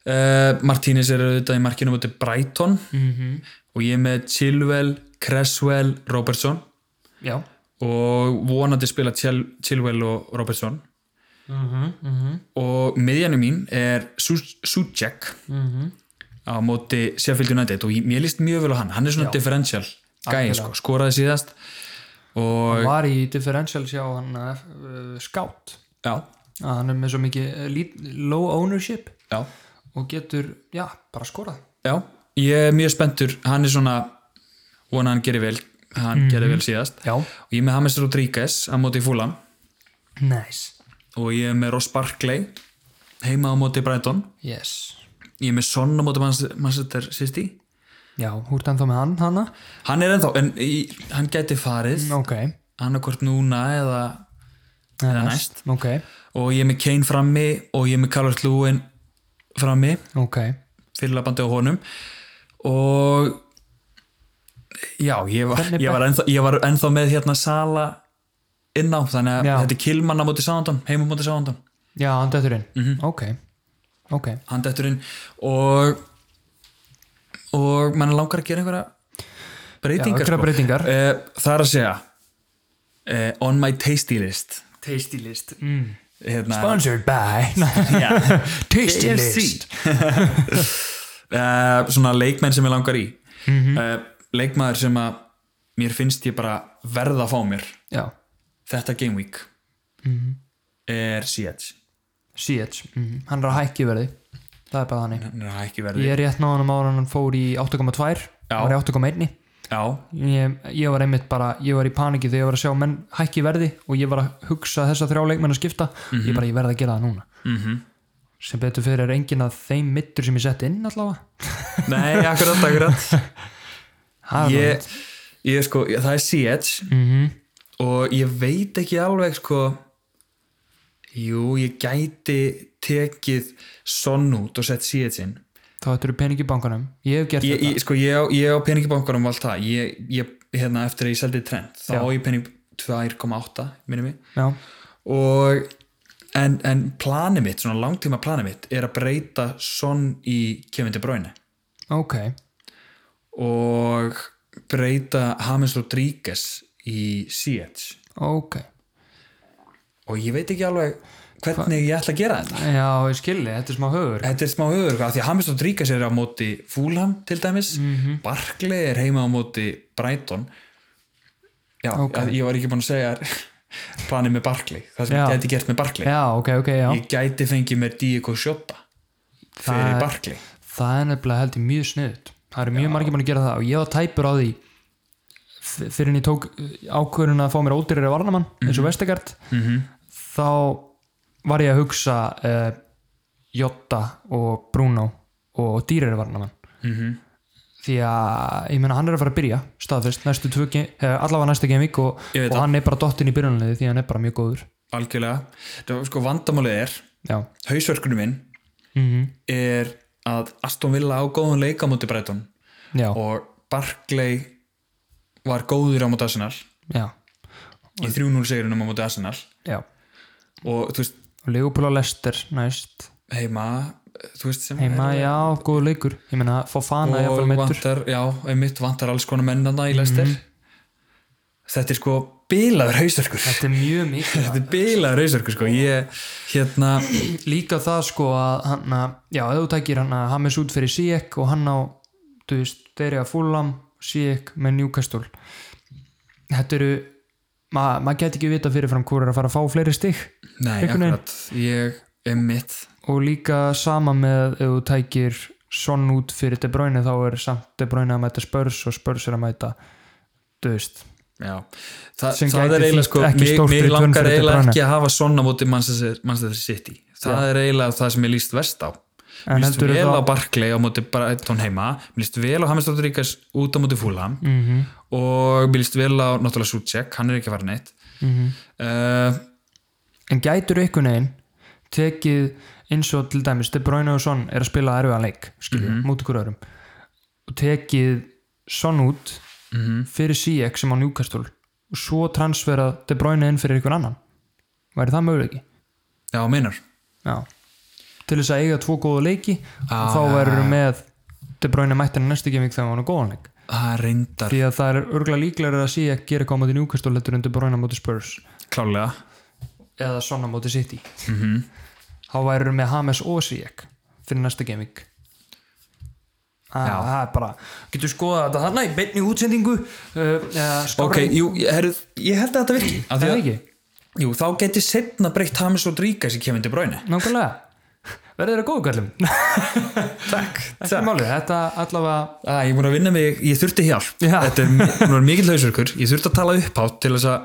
[SPEAKER 1] Uh, Martínez er auðvitað í markinu mútið Brighton -hmm. og ég er með Chilwell, Cresswell, Robertson
[SPEAKER 2] já,
[SPEAKER 1] og vonandi spila Chil Chilwell og Robertson og miðjanum mín er Su- Suchek á móti Sheffield United og ég- mér líst mjög vel á hann, hann er svona differential gæi sko, skoraði síðast og
[SPEAKER 2] var í differentials hjá hann uh, skátt
[SPEAKER 1] já,
[SPEAKER 2] að hann er með svo mikið eh, lít- low ownership
[SPEAKER 1] já,
[SPEAKER 2] og getur, já, bara skorað
[SPEAKER 1] já ég er mjög spenntur, hann er svona vona hann gerir vel hann mm gerir vel síðast
[SPEAKER 2] já,
[SPEAKER 1] og ég er með James Rodríguez á móti Fúlam
[SPEAKER 2] nice
[SPEAKER 1] og ég er með Ross Barkley heima á móti Brighton
[SPEAKER 2] yes,
[SPEAKER 1] ég er með Son á móti Manchester- Manchester City
[SPEAKER 2] já, húrt hann þá með hann hana
[SPEAKER 1] hann er ennþá, en í, hann gæti farið no.
[SPEAKER 2] ok,
[SPEAKER 1] hann er hvort núna eða
[SPEAKER 2] Mm. eða
[SPEAKER 1] næst.
[SPEAKER 2] ok,
[SPEAKER 1] og ég er með Kane frammi og ég er með Calvert Lewin frammi
[SPEAKER 2] ok
[SPEAKER 1] fyrirlabandi á honum og já, ég var,
[SPEAKER 2] Hvernig
[SPEAKER 1] ég var, ennþá, ég var ennþá með hérna Sala inná, þannig að
[SPEAKER 2] Já.
[SPEAKER 1] þetta er Kilmann á móti Sándon, heima á móti Sándon
[SPEAKER 2] Já, hann dættur inn,
[SPEAKER 1] Mhm.
[SPEAKER 2] ok Ok,
[SPEAKER 1] hann dettur inn og og mann langar að gera einhverja breytingar,
[SPEAKER 2] Já, einhverjar breytingar.
[SPEAKER 1] Eh, það er að segja eh, on my tasty list
[SPEAKER 2] tasty list mm.
[SPEAKER 1] hérna,
[SPEAKER 2] Sponsored by
[SPEAKER 1] já,
[SPEAKER 2] Tasty
[SPEAKER 1] KFC. Eh, svona leikmenn sem ég langar í
[SPEAKER 2] Mhm.
[SPEAKER 1] eh, leikmaður sem að mér finnst ég bara verða að fá mér
[SPEAKER 2] Já,
[SPEAKER 1] þetta game week
[SPEAKER 2] Mhm.
[SPEAKER 1] er CH
[SPEAKER 2] CH, mm. hann er að hækki verði Það er bara þannig
[SPEAKER 1] hann er ekki verði
[SPEAKER 2] Ég er rétt náðanum ára hann fór í 8,2
[SPEAKER 1] Já.
[SPEAKER 2] var í 8,1
[SPEAKER 1] já,
[SPEAKER 2] ég, ég var einmitt bara, ég var í paniki þegar ég var að sjá menn hækki verði og ég var að hugsa þessa þrjá leikmenn að skipta ég bara, ég verði að gera það núna
[SPEAKER 1] Mhm.
[SPEAKER 2] sem betur fyrir er enginn af þeim mittur sem ég setti inn allavega
[SPEAKER 1] nei, akkurat, akkurat
[SPEAKER 2] Það er
[SPEAKER 1] ég, ég sko, ég- það er CH
[SPEAKER 2] Mhm.
[SPEAKER 1] og ég veit ekki alveg sko jú, ég gæti tekið sonn út og sett CH inn
[SPEAKER 2] þá þetta eru peningi bankanum ég hef gert
[SPEAKER 1] ég,
[SPEAKER 2] þetta
[SPEAKER 1] ég, sko, ég, á- ég á peningibankunum og allt það, ég, ég, hérna eftir að ég seldi trend, þá
[SPEAKER 2] Já.
[SPEAKER 1] á ég pening 2,8 minni mig
[SPEAKER 2] Já.
[SPEAKER 1] og en, en planið mitt, svona langtíma planið mitt er að breyta sonn í kemindi bráinu
[SPEAKER 2] ok,
[SPEAKER 1] og breyta James Rodríguez í CH
[SPEAKER 2] ok,
[SPEAKER 1] og ég veit ekki alveg hvernig ég ætla að gera þetta
[SPEAKER 2] já, ég skilji, þetta er smá höfur
[SPEAKER 1] þetta er smá höfur, af því að James Rodríguez er á móti Fúlham til dæmis
[SPEAKER 2] Mhm.
[SPEAKER 1] Barkley er heima á móti Brighton já,
[SPEAKER 2] Ok.
[SPEAKER 1] okay. ég var ekki búin að segja þér planið með Barkley, það sem
[SPEAKER 2] Já.
[SPEAKER 1] ég gæti gert með Barkley
[SPEAKER 2] já, ok, ok, já
[SPEAKER 1] ég gæti fengið mér Diego Sjóta fyrir
[SPEAKER 2] Það-
[SPEAKER 1] Barkley
[SPEAKER 2] það er nefnilega held ég mjög sniðut það eru mjög margir mann að gera það og ég var tæpur á því f- fyrir en ég tók ákvörun að fá mér ódýrari varnamann eins og Vestegard
[SPEAKER 1] Mhm.
[SPEAKER 2] þá var ég að hugsa uh, Jotta og Bruno og dýrari varnamann
[SPEAKER 1] Mhm.
[SPEAKER 2] því að ég meina hann er að fara að byrja staðfest næstu tvö, ge- eh, allavega næstu genvík og,
[SPEAKER 1] Ég veit
[SPEAKER 2] og
[SPEAKER 1] það.
[SPEAKER 2] hann er bara dottinn í byrjunlega því að hann er bara mjög góður
[SPEAKER 1] algjörlega, það var sko vandamálið er
[SPEAKER 2] já,
[SPEAKER 1] hausverkunum minn
[SPEAKER 2] mm
[SPEAKER 1] er að Aston Villa á góðan leika múti Brighton
[SPEAKER 2] já,
[SPEAKER 1] og Barkley var góður á múti Arsenal
[SPEAKER 2] já,
[SPEAKER 1] í 3-0 sigrinum á múti Arsenal
[SPEAKER 2] já
[SPEAKER 1] og þú veist,
[SPEAKER 2] og Leopold og Lester næst
[SPEAKER 1] heima þú veist sem
[SPEAKER 2] heima, já, góður leikur ég meina, Fofana er
[SPEAKER 1] og
[SPEAKER 2] jafnvel Mhm. meittur
[SPEAKER 1] vantar, já, einmitt vantar alls konar mennana í lestir þetta er sko bilaður hausverkur
[SPEAKER 2] þetta er mjög mikið
[SPEAKER 1] þetta er bilaður hausverkur sko ég, hérna,
[SPEAKER 2] líka það sko að hann að, já, ef þú tækir hann að Hames út fyrir Sijek og hann á, þú veist, þeirri að Fulham, Sijek með Newcastle þetta eru ma maður geti ekki vita fyrirfram hvað er að fara að fá fleiri stig
[SPEAKER 1] nei,
[SPEAKER 2] Einhvern veginn.
[SPEAKER 1] akkurat ég, einmitt
[SPEAKER 2] og líka sama með ef þú tækir sonn út fyrir De Bruyne þá er samt De Bruyne að mæta Spurs og Spurs er að mæta þú veist,
[SPEAKER 1] Já, Þa,
[SPEAKER 2] Sem
[SPEAKER 1] það
[SPEAKER 2] gæti
[SPEAKER 1] er eiginlega
[SPEAKER 2] þýtt
[SPEAKER 1] sko,
[SPEAKER 2] ekki
[SPEAKER 1] mér,
[SPEAKER 2] stórt
[SPEAKER 1] mér
[SPEAKER 2] return
[SPEAKER 1] langar
[SPEAKER 2] fyrir
[SPEAKER 1] eiginlega
[SPEAKER 2] De Bruyne.
[SPEAKER 1] ekki að hafa svona móti Manchester Manchester City það er eiginlega það sem ég líst verst á
[SPEAKER 2] En
[SPEAKER 1] mér líst
[SPEAKER 2] heldurðu
[SPEAKER 1] vel
[SPEAKER 2] þá-
[SPEAKER 1] á Barclay á móti Brighton heima mér líst vel á James Rodríguez út á móti Fulham
[SPEAKER 2] mhm
[SPEAKER 1] og mér líst vel á náttúrulega Suchek, hann er ekki að fara neitt
[SPEAKER 2] Mhm.
[SPEAKER 1] uh,
[SPEAKER 2] en gætur einhvern veginn tekið eins og til dæmis De Bruyne og Son er að spila erfiðan leik
[SPEAKER 1] Mhm.
[SPEAKER 2] skilju, mm -hmm. mútið hverju öðrum og tekið Son út
[SPEAKER 1] Mhm.
[SPEAKER 2] fyrir CX sem á Newcastle og svo transferað De Bruyne inn fyrir einhvern annan væri það möguleiki?
[SPEAKER 1] Já, meinar
[SPEAKER 2] Já til þess að eiga tvo góða leiki
[SPEAKER 1] Já,
[SPEAKER 2] og þá
[SPEAKER 1] Ah, já,
[SPEAKER 2] verður með De Bruyne mættin næstu gemik þegar hann er góðan leik
[SPEAKER 1] það er reyndar
[SPEAKER 2] því að það er örgulega líklega að CX gera koma til Newcastle heldur en De Bruyne á móti Spurs
[SPEAKER 1] klálega
[SPEAKER 2] eða svona móti City
[SPEAKER 1] Mhm.
[SPEAKER 2] þá væru með Hames og Sijek fyrir næsta gaming Það
[SPEAKER 1] Já.
[SPEAKER 2] það er bara getur skoðað þetta þarna í beinni útsendingu uh,
[SPEAKER 1] Ok, jú, ég, herru, ég held að þetta virki Af því
[SPEAKER 2] það er
[SPEAKER 1] að-
[SPEAKER 2] ekki,
[SPEAKER 1] Jú, þá geti setna breytt James Rodríguez í kemindi bráinu
[SPEAKER 2] nákvæmlega verður þeirra góðu kallum
[SPEAKER 1] Takk,
[SPEAKER 2] ekki málið, þetta allavega
[SPEAKER 1] Ah, ég er búin að vinna mig, ég þurfti hjálp
[SPEAKER 2] Já.
[SPEAKER 1] þetta er mi- hún var mikill hausverkur ég þurfti að tala upphátt til þess að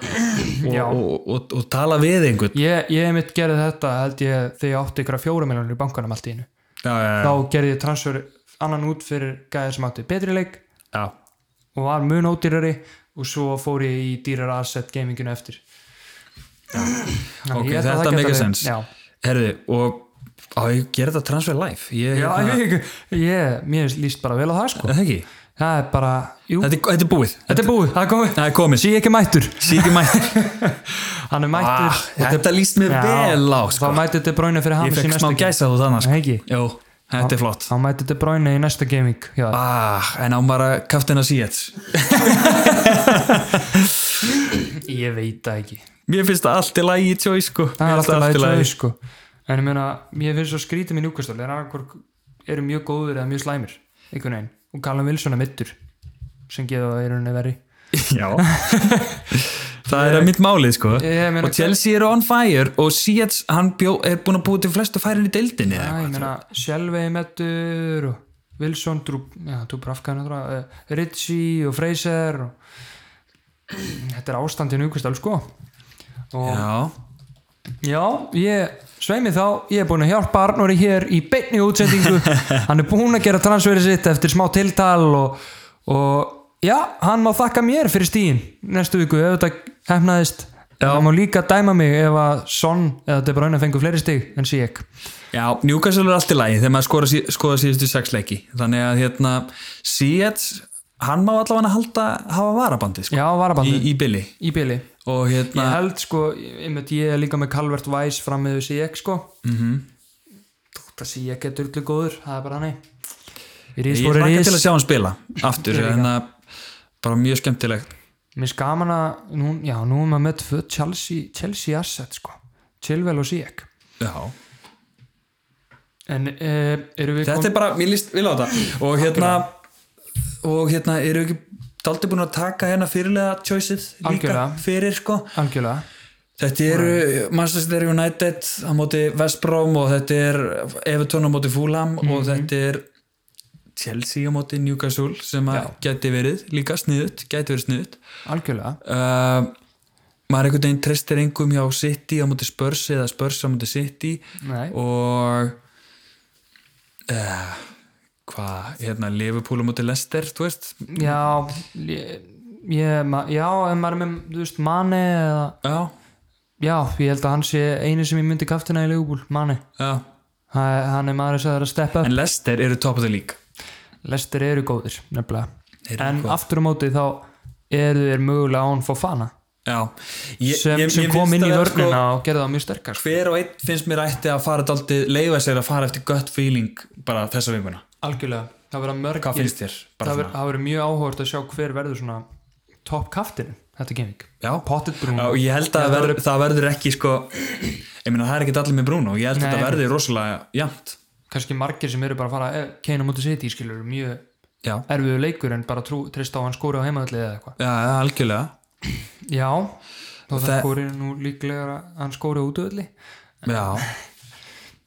[SPEAKER 1] og,
[SPEAKER 2] Já.
[SPEAKER 1] og, og, og tala við einhvern
[SPEAKER 2] ég, ég mitt gerði þetta held ég þegar ég átti ykkur að fjóra miljonur í bankanum allt í einu
[SPEAKER 1] já, já,
[SPEAKER 2] þá gerði ég transfer annan út fyrir gæði sem átti betri leik
[SPEAKER 1] já.
[SPEAKER 2] og var mun ódýrari og svo fór ég í dýrar asset gaminginu eftir Þannig
[SPEAKER 1] ok,
[SPEAKER 2] ég held að
[SPEAKER 1] þetta
[SPEAKER 2] það
[SPEAKER 1] make
[SPEAKER 2] geti-
[SPEAKER 1] sense
[SPEAKER 2] já,
[SPEAKER 1] herði, og á ég gera þetta transfer live ég,
[SPEAKER 2] já
[SPEAKER 1] hérna-
[SPEAKER 2] ég, ég, mér líst bara vel á það sko
[SPEAKER 1] Er það ekki?
[SPEAKER 2] það er bara, jú,
[SPEAKER 1] Þetta, er- þetta er búið,
[SPEAKER 2] þetta er búið, það er komið
[SPEAKER 1] það er komið
[SPEAKER 2] sí ekki mættur,
[SPEAKER 1] síki mættur,
[SPEAKER 2] hann er mættur
[SPEAKER 1] ah, þetta líst mér
[SPEAKER 2] Já,
[SPEAKER 1] vel á sko.
[SPEAKER 2] þá mættir þetta bráinu fyrir
[SPEAKER 1] ég
[SPEAKER 2] Hamis í
[SPEAKER 1] fekk smá
[SPEAKER 2] næsta gaming
[SPEAKER 1] gæsa þú þannig
[SPEAKER 2] Nei,
[SPEAKER 1] sko.
[SPEAKER 2] ekki.
[SPEAKER 1] Jú, þetta er flott
[SPEAKER 2] þá mættir þetta bráinu í næsta gaming já,
[SPEAKER 1] ah, en á bara kaftin að síðan
[SPEAKER 2] ég veit það ekki
[SPEAKER 1] mér finnst það allt í lagi í tjói sko.
[SPEAKER 2] það
[SPEAKER 1] Mér
[SPEAKER 2] er
[SPEAKER 1] finnst
[SPEAKER 2] alltaf
[SPEAKER 1] í
[SPEAKER 2] lægt svo sko. en ég meina, ég finnst svo skrítið minn úkastölu er annarkvör, eru mjög góður eða mjög slæmir einhvern veginn, og Callum Wilson er mittur sem geða það í rauninni verri
[SPEAKER 1] Já Það er að mitt málið sko
[SPEAKER 2] Ég meina-
[SPEAKER 1] Og Chelsea eru on fire Og Seeds, hann bjó, er búin að búið til flestu færin í deildinni
[SPEAKER 2] Já,
[SPEAKER 1] eða
[SPEAKER 2] ég
[SPEAKER 1] eitthvað.
[SPEAKER 2] meina, Sjálfei Mettur og Wilson, Drú, já, Dúbrafka uh, Ritchie og Fraser og... Þetta er ástandinu ykkur stöld, sko og
[SPEAKER 1] Já,
[SPEAKER 2] já, ég sveimi þá, ég er búin að hjálpa Arnóri hér í beinni útsendingu hann er búin að gera transferið sitt eftir smá tiltal og, og já, hann má þakka mér fyrir stíin næstu viku, ef þetta hefnaðist Já. Það má líka dæma mig ef að Son eða De Bruyne fengur fleiri stig en Sijek.
[SPEAKER 1] já Newcastle er allt í lagi Þegar maður skora, sí- skoða síðustu sex leiki Þannig að hérna Seeds, hann má allavega halda Hafa varabandi sko
[SPEAKER 2] Já, varabandi.
[SPEAKER 1] Í, í bili
[SPEAKER 2] í bili
[SPEAKER 1] Og
[SPEAKER 2] ég
[SPEAKER 1] hérna,
[SPEAKER 2] held sko, einmitt ég er líka með Calvert Weiss fram með CX sko mm -hmm. það CX er dörlu góður það er bara nei
[SPEAKER 1] ég
[SPEAKER 2] Rís
[SPEAKER 1] er
[SPEAKER 2] voru
[SPEAKER 1] ekki
[SPEAKER 2] rís
[SPEAKER 1] til að sjá hann spila Aftur,
[SPEAKER 2] Ég líka.
[SPEAKER 1] hérna bara mjög skemmtilegt
[SPEAKER 2] Mér finnst gaman að, nú, já, nú er maður með tvö Chelsea, Chelsea asset, sko. Chilwell og Sijek.
[SPEAKER 1] já
[SPEAKER 2] En uh, eru við
[SPEAKER 1] þetta er bara, mér líst, vil á þetta og hérna og hérna eru ekki daldi búin að taka hérna fyrirlega choiceið líka
[SPEAKER 2] Algjörlega.
[SPEAKER 1] fyrir sko
[SPEAKER 2] algjörlega?
[SPEAKER 1] þetta eru Manchester United á móti West Brom og þetta er Everton á móti Fulham og þetta er Chelsea á móti Newcastle sem að geti verið líka sniðut, geti verið sniðut
[SPEAKER 2] Algjörlega.
[SPEAKER 1] uh, maður einhvern veginn treystir engum hjá City á móti Spurs eða Spurs á móti City
[SPEAKER 2] Nei.
[SPEAKER 1] og uh, hvað, hérna Liverpool á móti Leicester, þú veist
[SPEAKER 2] Já, ég, ég, ma- já, ef maður er með, þú veist, Mane eða,
[SPEAKER 1] já,
[SPEAKER 2] já, ég held að hann sé einu sem ég myndi kaftina í Leopold, Mane.
[SPEAKER 1] já
[SPEAKER 2] Ha, hann er maður sem er að steppa upp.
[SPEAKER 1] en Leicester eru top of the league
[SPEAKER 2] Lester eru góðir, nefnilega.
[SPEAKER 1] Þeir eru sko-
[SPEAKER 2] en
[SPEAKER 1] góðir.
[SPEAKER 2] aftur á móti þá eru þeir mögulega án Fofana
[SPEAKER 1] já, ég,
[SPEAKER 2] sem,
[SPEAKER 1] ég-
[SPEAKER 2] sem
[SPEAKER 1] mér
[SPEAKER 2] kom
[SPEAKER 1] finnst
[SPEAKER 2] inn í
[SPEAKER 1] að,
[SPEAKER 2] vörnina og gerði það mjög sterkar.
[SPEAKER 1] sko, hver og einn finnst mér ætti að fara daldi, leifa sér að fara eftir gött feeling bara þessa vikuna,
[SPEAKER 2] Algjörlega. Það verða mörg
[SPEAKER 1] hvað finnst þér? bara
[SPEAKER 2] það verður-
[SPEAKER 1] svona,
[SPEAKER 2] það verður mjög áhugast að sjá hver verður svona topp kaftin þetta geming
[SPEAKER 1] já
[SPEAKER 2] Pottet Bruno
[SPEAKER 1] Já, og ég held að
[SPEAKER 2] Ég held að-
[SPEAKER 1] verður, það verður ekki sko ég meina það er ekki allir með Bruno ég held að
[SPEAKER 2] Nei.
[SPEAKER 1] þetta verður rosalega jæmt
[SPEAKER 2] kannski margir sem eru bara að fara eh, Kane á móti City skilur mjög
[SPEAKER 1] já,
[SPEAKER 2] erfiðu leikur en bara trú, treyst á að hann skóri á heimaðalli eða eitthvað
[SPEAKER 1] já, algjörlega
[SPEAKER 2] já þá það
[SPEAKER 1] Það-
[SPEAKER 2] skóri nú líklega að hann skóri á útöðalli
[SPEAKER 1] já,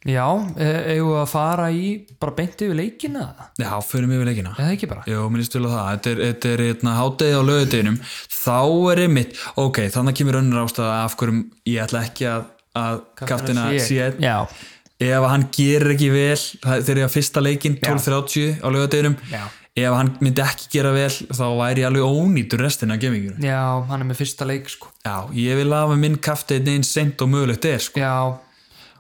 [SPEAKER 2] já eh, eigum við að fara í bara beint yfir leikina
[SPEAKER 1] já, fyrir mig við leikina
[SPEAKER 2] eða ekki bara
[SPEAKER 1] Jó, minnist vel á það, þetta er, þetta er hérna, hátegi á lögudeginum, þá er einmitt, ok, þannig kemur önnur ástæða af hverjum ég ætla ekki að, að kaftina sé
[SPEAKER 2] Ziyech. já,
[SPEAKER 1] ef hann gerir ekki vel það- þegar ég að fyrsta leikin 12.30 á lögudeginum,
[SPEAKER 2] Já.
[SPEAKER 1] ef hann myndi ekki gera vel þá væri ég alveg ónýtur restina af gemingur.
[SPEAKER 2] já, hann er með fyrsta leik sko
[SPEAKER 1] Já, ég vil hafa minn kaftin einn sent og mögulegt er, sko.
[SPEAKER 2] já,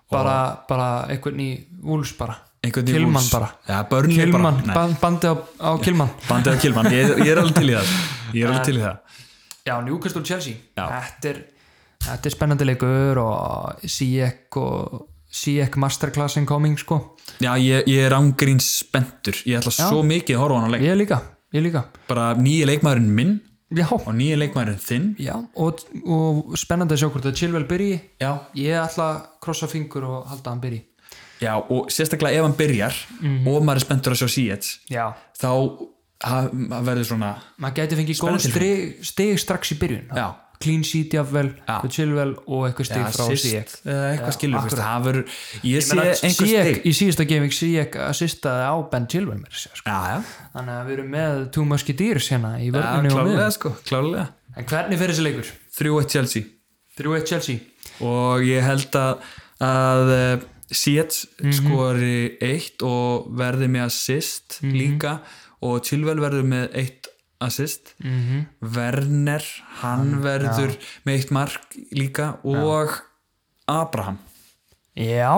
[SPEAKER 2] bara, bara einhvern í úls bara
[SPEAKER 1] Einhvern í
[SPEAKER 2] Kilman
[SPEAKER 1] Wolves.
[SPEAKER 2] bara.
[SPEAKER 1] Já, börnum
[SPEAKER 2] Kilman,
[SPEAKER 1] bara. Nei,
[SPEAKER 2] ban- bandið á, á Kilman
[SPEAKER 1] bandið að kilman, ég, ég er alveg til í það. Ég er alveg til í það.
[SPEAKER 2] Já, Newcastle Chelsea
[SPEAKER 1] Já.
[SPEAKER 2] Þetta, er, þetta er spennandi leikur og Sijek og Sijek masterclass incoming sko
[SPEAKER 1] Já, ég, ég er ángríns spenntur Ég ætla svo mikið að horfa á hann að leik
[SPEAKER 2] Ég líka, ég líka
[SPEAKER 1] Bara nýja leikmaðurinn minn
[SPEAKER 2] Já,
[SPEAKER 1] og nýja leikmaðurinn þinn
[SPEAKER 2] já og, og spennandi að sjá hvort að Chilwell byrji
[SPEAKER 1] Já,
[SPEAKER 2] Ég ætla að krossa fingur og halda að hann byrji
[SPEAKER 1] já og sérstaklega ef hann byrjar og maður er spenntur að sjá síðan
[SPEAKER 2] Já
[SPEAKER 1] þá ha- maður verður svona
[SPEAKER 2] Maður gæti fengið góð stri- stig strax í byrjun
[SPEAKER 1] Já.
[SPEAKER 2] Clean sheet jafnvel,
[SPEAKER 1] Já.
[SPEAKER 2] við Chilwell og eitthvað stig frá
[SPEAKER 1] assist
[SPEAKER 2] Sijek
[SPEAKER 1] eða eitthvað skilur veist, það verður, ég, sé einhver
[SPEAKER 2] Sijek,
[SPEAKER 1] stig
[SPEAKER 2] í síðasta gaming Sijek assistaði á Ben Chilwell mér sér sko
[SPEAKER 1] Já, já,
[SPEAKER 2] Þannig að við erum með Two Musketeers hérna í
[SPEAKER 1] já
[SPEAKER 2] vörðinu og miðun.
[SPEAKER 1] klálega sko, klálega
[SPEAKER 2] En hvernig fyrir þessi leikur?
[SPEAKER 1] 3-1 Chelsea
[SPEAKER 2] 3-1 Chelsea.
[SPEAKER 1] og ég held að, að Sietz skori eitt og verði með assist líka og Chilwell verður með eitt assist
[SPEAKER 2] Mhm.
[SPEAKER 1] Werner, hann verður með eitt mark líka og Abraham
[SPEAKER 2] Já.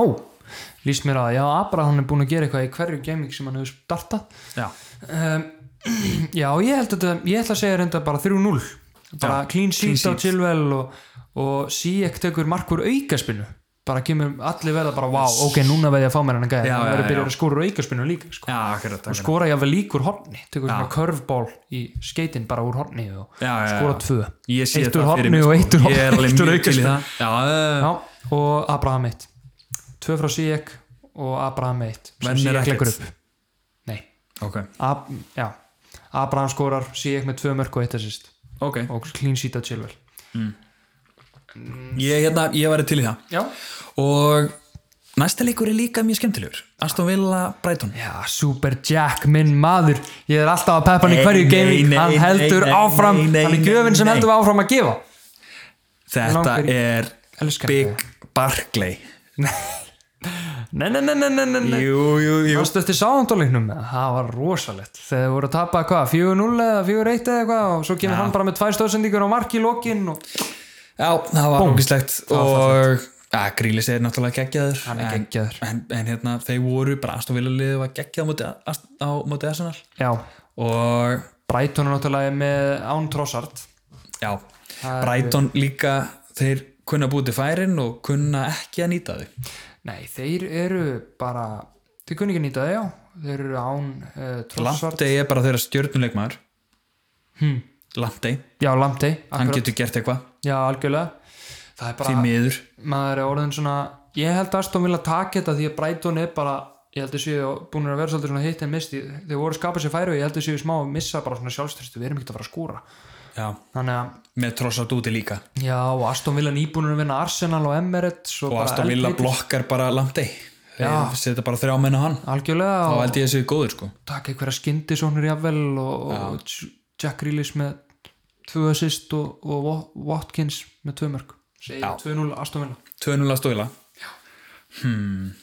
[SPEAKER 2] Lýst mér að, já, Abraham er búin að gera eitthvað í hverju gaming sem hann hefur startað.
[SPEAKER 1] já,
[SPEAKER 2] Um, já, ég held að, þetta- ég ætla að segja reynda bara 3-0. Bara
[SPEAKER 1] Já,
[SPEAKER 2] clean
[SPEAKER 1] clean
[SPEAKER 2] sheet á
[SPEAKER 1] sheet.
[SPEAKER 2] Chilwell og, og Sijek tekur markur aukaspinnu. Bara kemur allir verða bara, wow, ok, núna veði ég að fá mér hann að gæða.
[SPEAKER 1] Já,
[SPEAKER 2] Það
[SPEAKER 1] já,
[SPEAKER 2] verður
[SPEAKER 1] já.
[SPEAKER 2] byrjar að skora úr aukaspinnu líka, sko.
[SPEAKER 1] já, akkurat,
[SPEAKER 2] og
[SPEAKER 1] akkurat.
[SPEAKER 2] skora jáfnvel líkur horni tekur svona körfból í skeitin bara úr horni og
[SPEAKER 1] Já, já, já.
[SPEAKER 2] skora tvö
[SPEAKER 1] ég sé
[SPEAKER 2] eitt úr
[SPEAKER 1] þetta fyrir
[SPEAKER 2] horni
[SPEAKER 1] mér,
[SPEAKER 2] og
[SPEAKER 1] sko.
[SPEAKER 2] eitt úr
[SPEAKER 1] ég er
[SPEAKER 2] horni
[SPEAKER 1] alveg
[SPEAKER 2] eitt úr
[SPEAKER 1] mjög til í
[SPEAKER 2] aukaspyrnu.
[SPEAKER 1] það já, já, já.
[SPEAKER 2] Já, og Abraham 1 tvö frá Sijek og Abraham 1 sem
[SPEAKER 1] Menn er
[SPEAKER 2] Sijek
[SPEAKER 1] ekkert.
[SPEAKER 2] leggur upp nei,
[SPEAKER 1] ok,
[SPEAKER 2] Ab, já Abraham skorar Sijek með tvö mörg og eitt assist
[SPEAKER 1] ok
[SPEAKER 2] og clean sheet að Chilwell
[SPEAKER 1] ég, hérna, ég væri til í það
[SPEAKER 2] já,
[SPEAKER 1] og næsta leikur er líka mjög skemmtilegur Aston Villa Brighton
[SPEAKER 2] já Super Jack, minn maður ég er alltaf að peppa hann í
[SPEAKER 1] Nei,
[SPEAKER 2] hverju
[SPEAKER 1] nei,
[SPEAKER 2] gaming
[SPEAKER 1] nei,
[SPEAKER 2] hann
[SPEAKER 1] nei,
[SPEAKER 2] heldur
[SPEAKER 1] nei,
[SPEAKER 2] áfram,
[SPEAKER 1] nei, nei,
[SPEAKER 2] hann er
[SPEAKER 1] nei,
[SPEAKER 2] gjöfin sem
[SPEAKER 1] nei.
[SPEAKER 2] heldur áfram að gefa
[SPEAKER 1] þetta
[SPEAKER 2] Langar í-
[SPEAKER 1] er
[SPEAKER 2] Elskar
[SPEAKER 1] Big Barclay
[SPEAKER 2] nei, nei, nei, nei, nei, nei, nei.
[SPEAKER 1] jú, jú, jú
[SPEAKER 2] Manstu eftir sáhandóleiknum? Það var rosalegt. Þegar þau voru að tapa hvað, 4-0 eða 4-1 eða eitthvað og svo kemur hann bara með tvær stóðsendingur á marki í lokin og
[SPEAKER 1] Já, það var ógislegt og ja, Grílis er náttúrulega geggjaður
[SPEAKER 2] Hann er
[SPEAKER 1] en-
[SPEAKER 2] geggjaður.
[SPEAKER 1] en, en hérna, þeir voru bara Aston Villa liðið var geggjað á móti, Ast- á móti Arsenal
[SPEAKER 2] já,
[SPEAKER 1] og
[SPEAKER 2] Brighton er náttúrulega með án trossart.
[SPEAKER 1] já,
[SPEAKER 2] Það er-
[SPEAKER 1] Brighton líka þeir kunna búið til færin og kunna ekki að nýta þau
[SPEAKER 2] Nei, þeir eru bara, þeir kunni ekki nýta það, já. Þeir eru án uh, trossart.
[SPEAKER 1] Lamptey er bara þeirra stjörnuleikmaður
[SPEAKER 2] Hm.
[SPEAKER 1] Lamptey,
[SPEAKER 2] já, Lamptey,
[SPEAKER 1] hann
[SPEAKER 2] akkurat,
[SPEAKER 1] getur gert eitthvað
[SPEAKER 2] já, algjörlega það er
[SPEAKER 1] því
[SPEAKER 2] bara,
[SPEAKER 1] miður
[SPEAKER 2] maður er orðin svona ég held að Aston vilja taka þetta því að Brighton er bara, ég held að séu búin að vera svolítið svona hitt en misti, þau voru að skapa sér færi og ég held að séu smá að missa bara svona sjálfstyrstu við erum ekkert að fara að skúra
[SPEAKER 1] já.
[SPEAKER 2] þannig að,
[SPEAKER 1] með trossat úti líka
[SPEAKER 2] já, og Aston vilja nýbúin að vinna Arsenal og Emirates og,
[SPEAKER 1] og
[SPEAKER 2] bara
[SPEAKER 1] Aston Villa
[SPEAKER 2] eldheitir.
[SPEAKER 1] blokkar bara Lamptey
[SPEAKER 2] Já.
[SPEAKER 1] þeir setja bara þrjá menn á hann
[SPEAKER 2] algjörlega
[SPEAKER 1] þá
[SPEAKER 2] og
[SPEAKER 1] held ég að séu góður sko
[SPEAKER 2] taka einhverja skyndisónur jafnvel og, og J- Jack Grealish með tvö assist og, og Wa- Watkins með tvö mörg segir 2-0 Aston Villa
[SPEAKER 1] 2-0 stóila Hmm.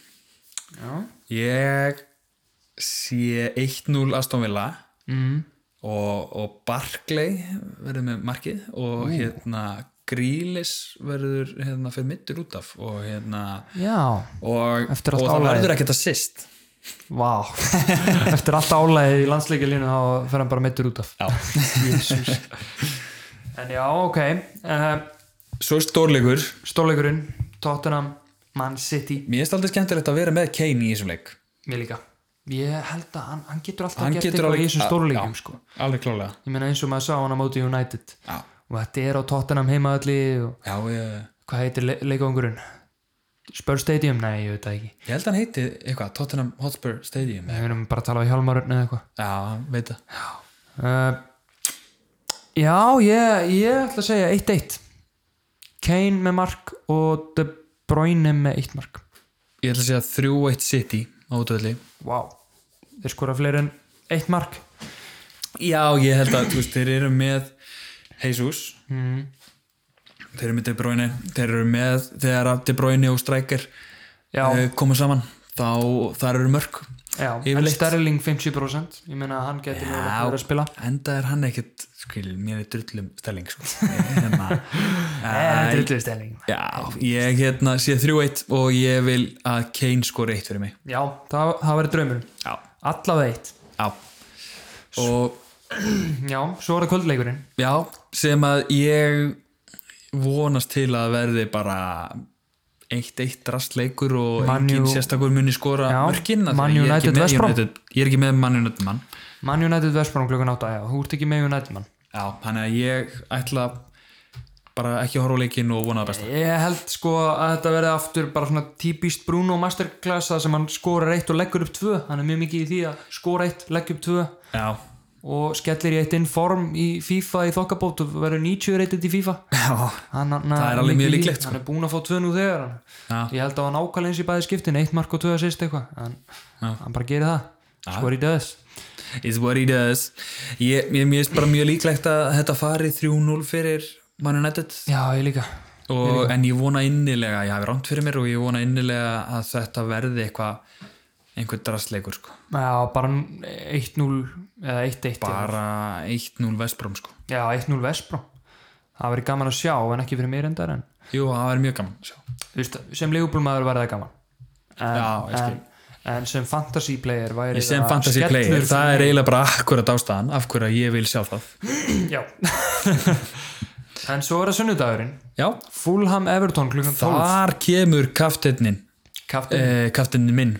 [SPEAKER 2] já.
[SPEAKER 1] ég sé 1-0 Aston Villa
[SPEAKER 2] Mm.
[SPEAKER 1] og, og Barclay verður með markið og hérna Grílis verður hérna fyrir mittur út af og hérna
[SPEAKER 2] já,
[SPEAKER 1] og, og
[SPEAKER 2] Eftir allt
[SPEAKER 1] það
[SPEAKER 2] álagið.
[SPEAKER 1] verður ekkert assist
[SPEAKER 2] vá eftir allt álæðið í landsleikilínu þá fer hann bara meittur út af
[SPEAKER 1] Já.
[SPEAKER 2] Jesús. en já, ok uh,
[SPEAKER 1] svo er stórleikur,
[SPEAKER 2] stórleikurinn, Tottenham Man City,
[SPEAKER 1] mér finnst aldrei skemmtilegt að vera með Kane í þessum leik
[SPEAKER 2] mér líka ég held að hann, hann getur alltaf
[SPEAKER 1] Hann
[SPEAKER 2] gert
[SPEAKER 1] getur
[SPEAKER 2] eitthvað í
[SPEAKER 1] alveg-
[SPEAKER 2] þessum
[SPEAKER 1] Já,
[SPEAKER 2] stórleikum
[SPEAKER 1] já.
[SPEAKER 2] sko.
[SPEAKER 1] alveg klálega
[SPEAKER 2] ég meina eins og maður sá hann á móti United
[SPEAKER 1] já,
[SPEAKER 2] og þetta er á Tottenham heimaðalli og
[SPEAKER 1] já ég,
[SPEAKER 2] hvað heitir le leikangurinn? Spurs Stadium? Nei, ég veit það ekki
[SPEAKER 1] ég held að hann heiti eitthvað Tottenham Hotspur Stadium
[SPEAKER 2] við erum bara að tala á Hjálmarun eða eitthvað
[SPEAKER 1] já, veit það
[SPEAKER 2] uh, Já, ég, ég ætla að segja 1-1 Kane með mark og De Bruyne með 1 mark
[SPEAKER 1] ég ætla að segja 3-1 City á útvöldi
[SPEAKER 2] Vá, þeir skora fleiri en 1 mark
[SPEAKER 1] já, ég held að þú veist, þeir eru með Jesus
[SPEAKER 2] mm.
[SPEAKER 1] þeir eru með De Bruyne þeir eru með þegar að De Bruyne og Stryker eh,
[SPEAKER 2] Já,
[SPEAKER 1] koma saman þá þar eru mörg
[SPEAKER 2] já, en
[SPEAKER 1] yfirleitt.
[SPEAKER 2] Sterling 50% ég meina að hann geti
[SPEAKER 1] Já.
[SPEAKER 2] mögulega verið að spila
[SPEAKER 1] enda er hann ekkit skil, mér er drullum stelling sko. hérna,
[SPEAKER 2] Nei,
[SPEAKER 1] Æ,
[SPEAKER 2] Eh, þetta er Sterling
[SPEAKER 1] já, ég hérna sé 3-1 og ég vil að Kane skori eitt fyrir mig
[SPEAKER 2] Já, það, það verið draumur
[SPEAKER 1] já,
[SPEAKER 2] Allavega 1
[SPEAKER 1] já. og
[SPEAKER 2] Já, svo var það kvöldleikurinn
[SPEAKER 1] já, sem að ég vonast til að verði bara eitt eitt drastleikur og
[SPEAKER 2] Man
[SPEAKER 1] engin
[SPEAKER 2] U-
[SPEAKER 1] sérstakur muni skora
[SPEAKER 2] Já,
[SPEAKER 1] mörkin af því
[SPEAKER 2] Man
[SPEAKER 1] ég er ekki
[SPEAKER 2] United
[SPEAKER 1] með
[SPEAKER 2] West Brom.
[SPEAKER 1] United- ég er ekki með Man United mann
[SPEAKER 2] Man United Vestbrom klukkan 8 já, þú ert ekki með United mann
[SPEAKER 1] Já, þannig að ég ætla bara ekki að horfa á leikinn og vona það besta.
[SPEAKER 2] ég held sko að þetta verði aftur bara svona típist Bruno masterclass það sem hann skorar eitt og leggur upp tvö hann er mjög mikið í því að skora eitt, leggja upp tvö
[SPEAKER 1] Já,
[SPEAKER 2] og skellir í eitt inn form í FIFA í þokkabót og verður 90 reytið í FIFA
[SPEAKER 1] já,
[SPEAKER 2] hann, hann,
[SPEAKER 1] Það er alveg mjög
[SPEAKER 2] mikið í-
[SPEAKER 1] líklegt, sko.
[SPEAKER 2] hann er búin að fá tvö nú þegar hann.
[SPEAKER 1] Já.
[SPEAKER 2] ég held að hann ákvæða eins í bæði skiptin eitt mark og tvö að sýst eitthvað hann, hann bara gerir það skori í döðs
[SPEAKER 1] it's what it is. Ég, ég, ég er bara mjög líklegt að þetta fari 3-0 fyrir Man United
[SPEAKER 2] já, ég líka
[SPEAKER 1] og, en ég vona innilega, ég hafi rámt fyrir mér og ég vona innilega að þetta verði eitthvað, einhver drastleikur sko.
[SPEAKER 2] já, bara 1-0 eða 1-1 já.
[SPEAKER 1] Bara 1-0 Vestbrom sko.
[SPEAKER 2] Já, 1-0 Vespró Það verið gaman að sjá en ekki fyrir mér endar en
[SPEAKER 1] Jú, það verði mjög gaman. að sjá.
[SPEAKER 2] þú veist, sem leigubúlmaður var það gaman en,
[SPEAKER 1] Já, ég skil.
[SPEAKER 2] en, en sem fantasy player væri
[SPEAKER 1] Ég sem
[SPEAKER 2] það
[SPEAKER 1] fantasy
[SPEAKER 2] skellur
[SPEAKER 1] player,
[SPEAKER 2] fyrir
[SPEAKER 1] það er
[SPEAKER 2] mig.
[SPEAKER 1] eiginlega bara akkurat ástæðan af hverju að ég vil sjá það.
[SPEAKER 2] Já En svo er það sunnudagurinn
[SPEAKER 1] Já,
[SPEAKER 2] Fulham Everton klukkan 12
[SPEAKER 1] þar kemur kaftinnin,
[SPEAKER 2] Kaftin
[SPEAKER 1] eh, kaftinnin minn.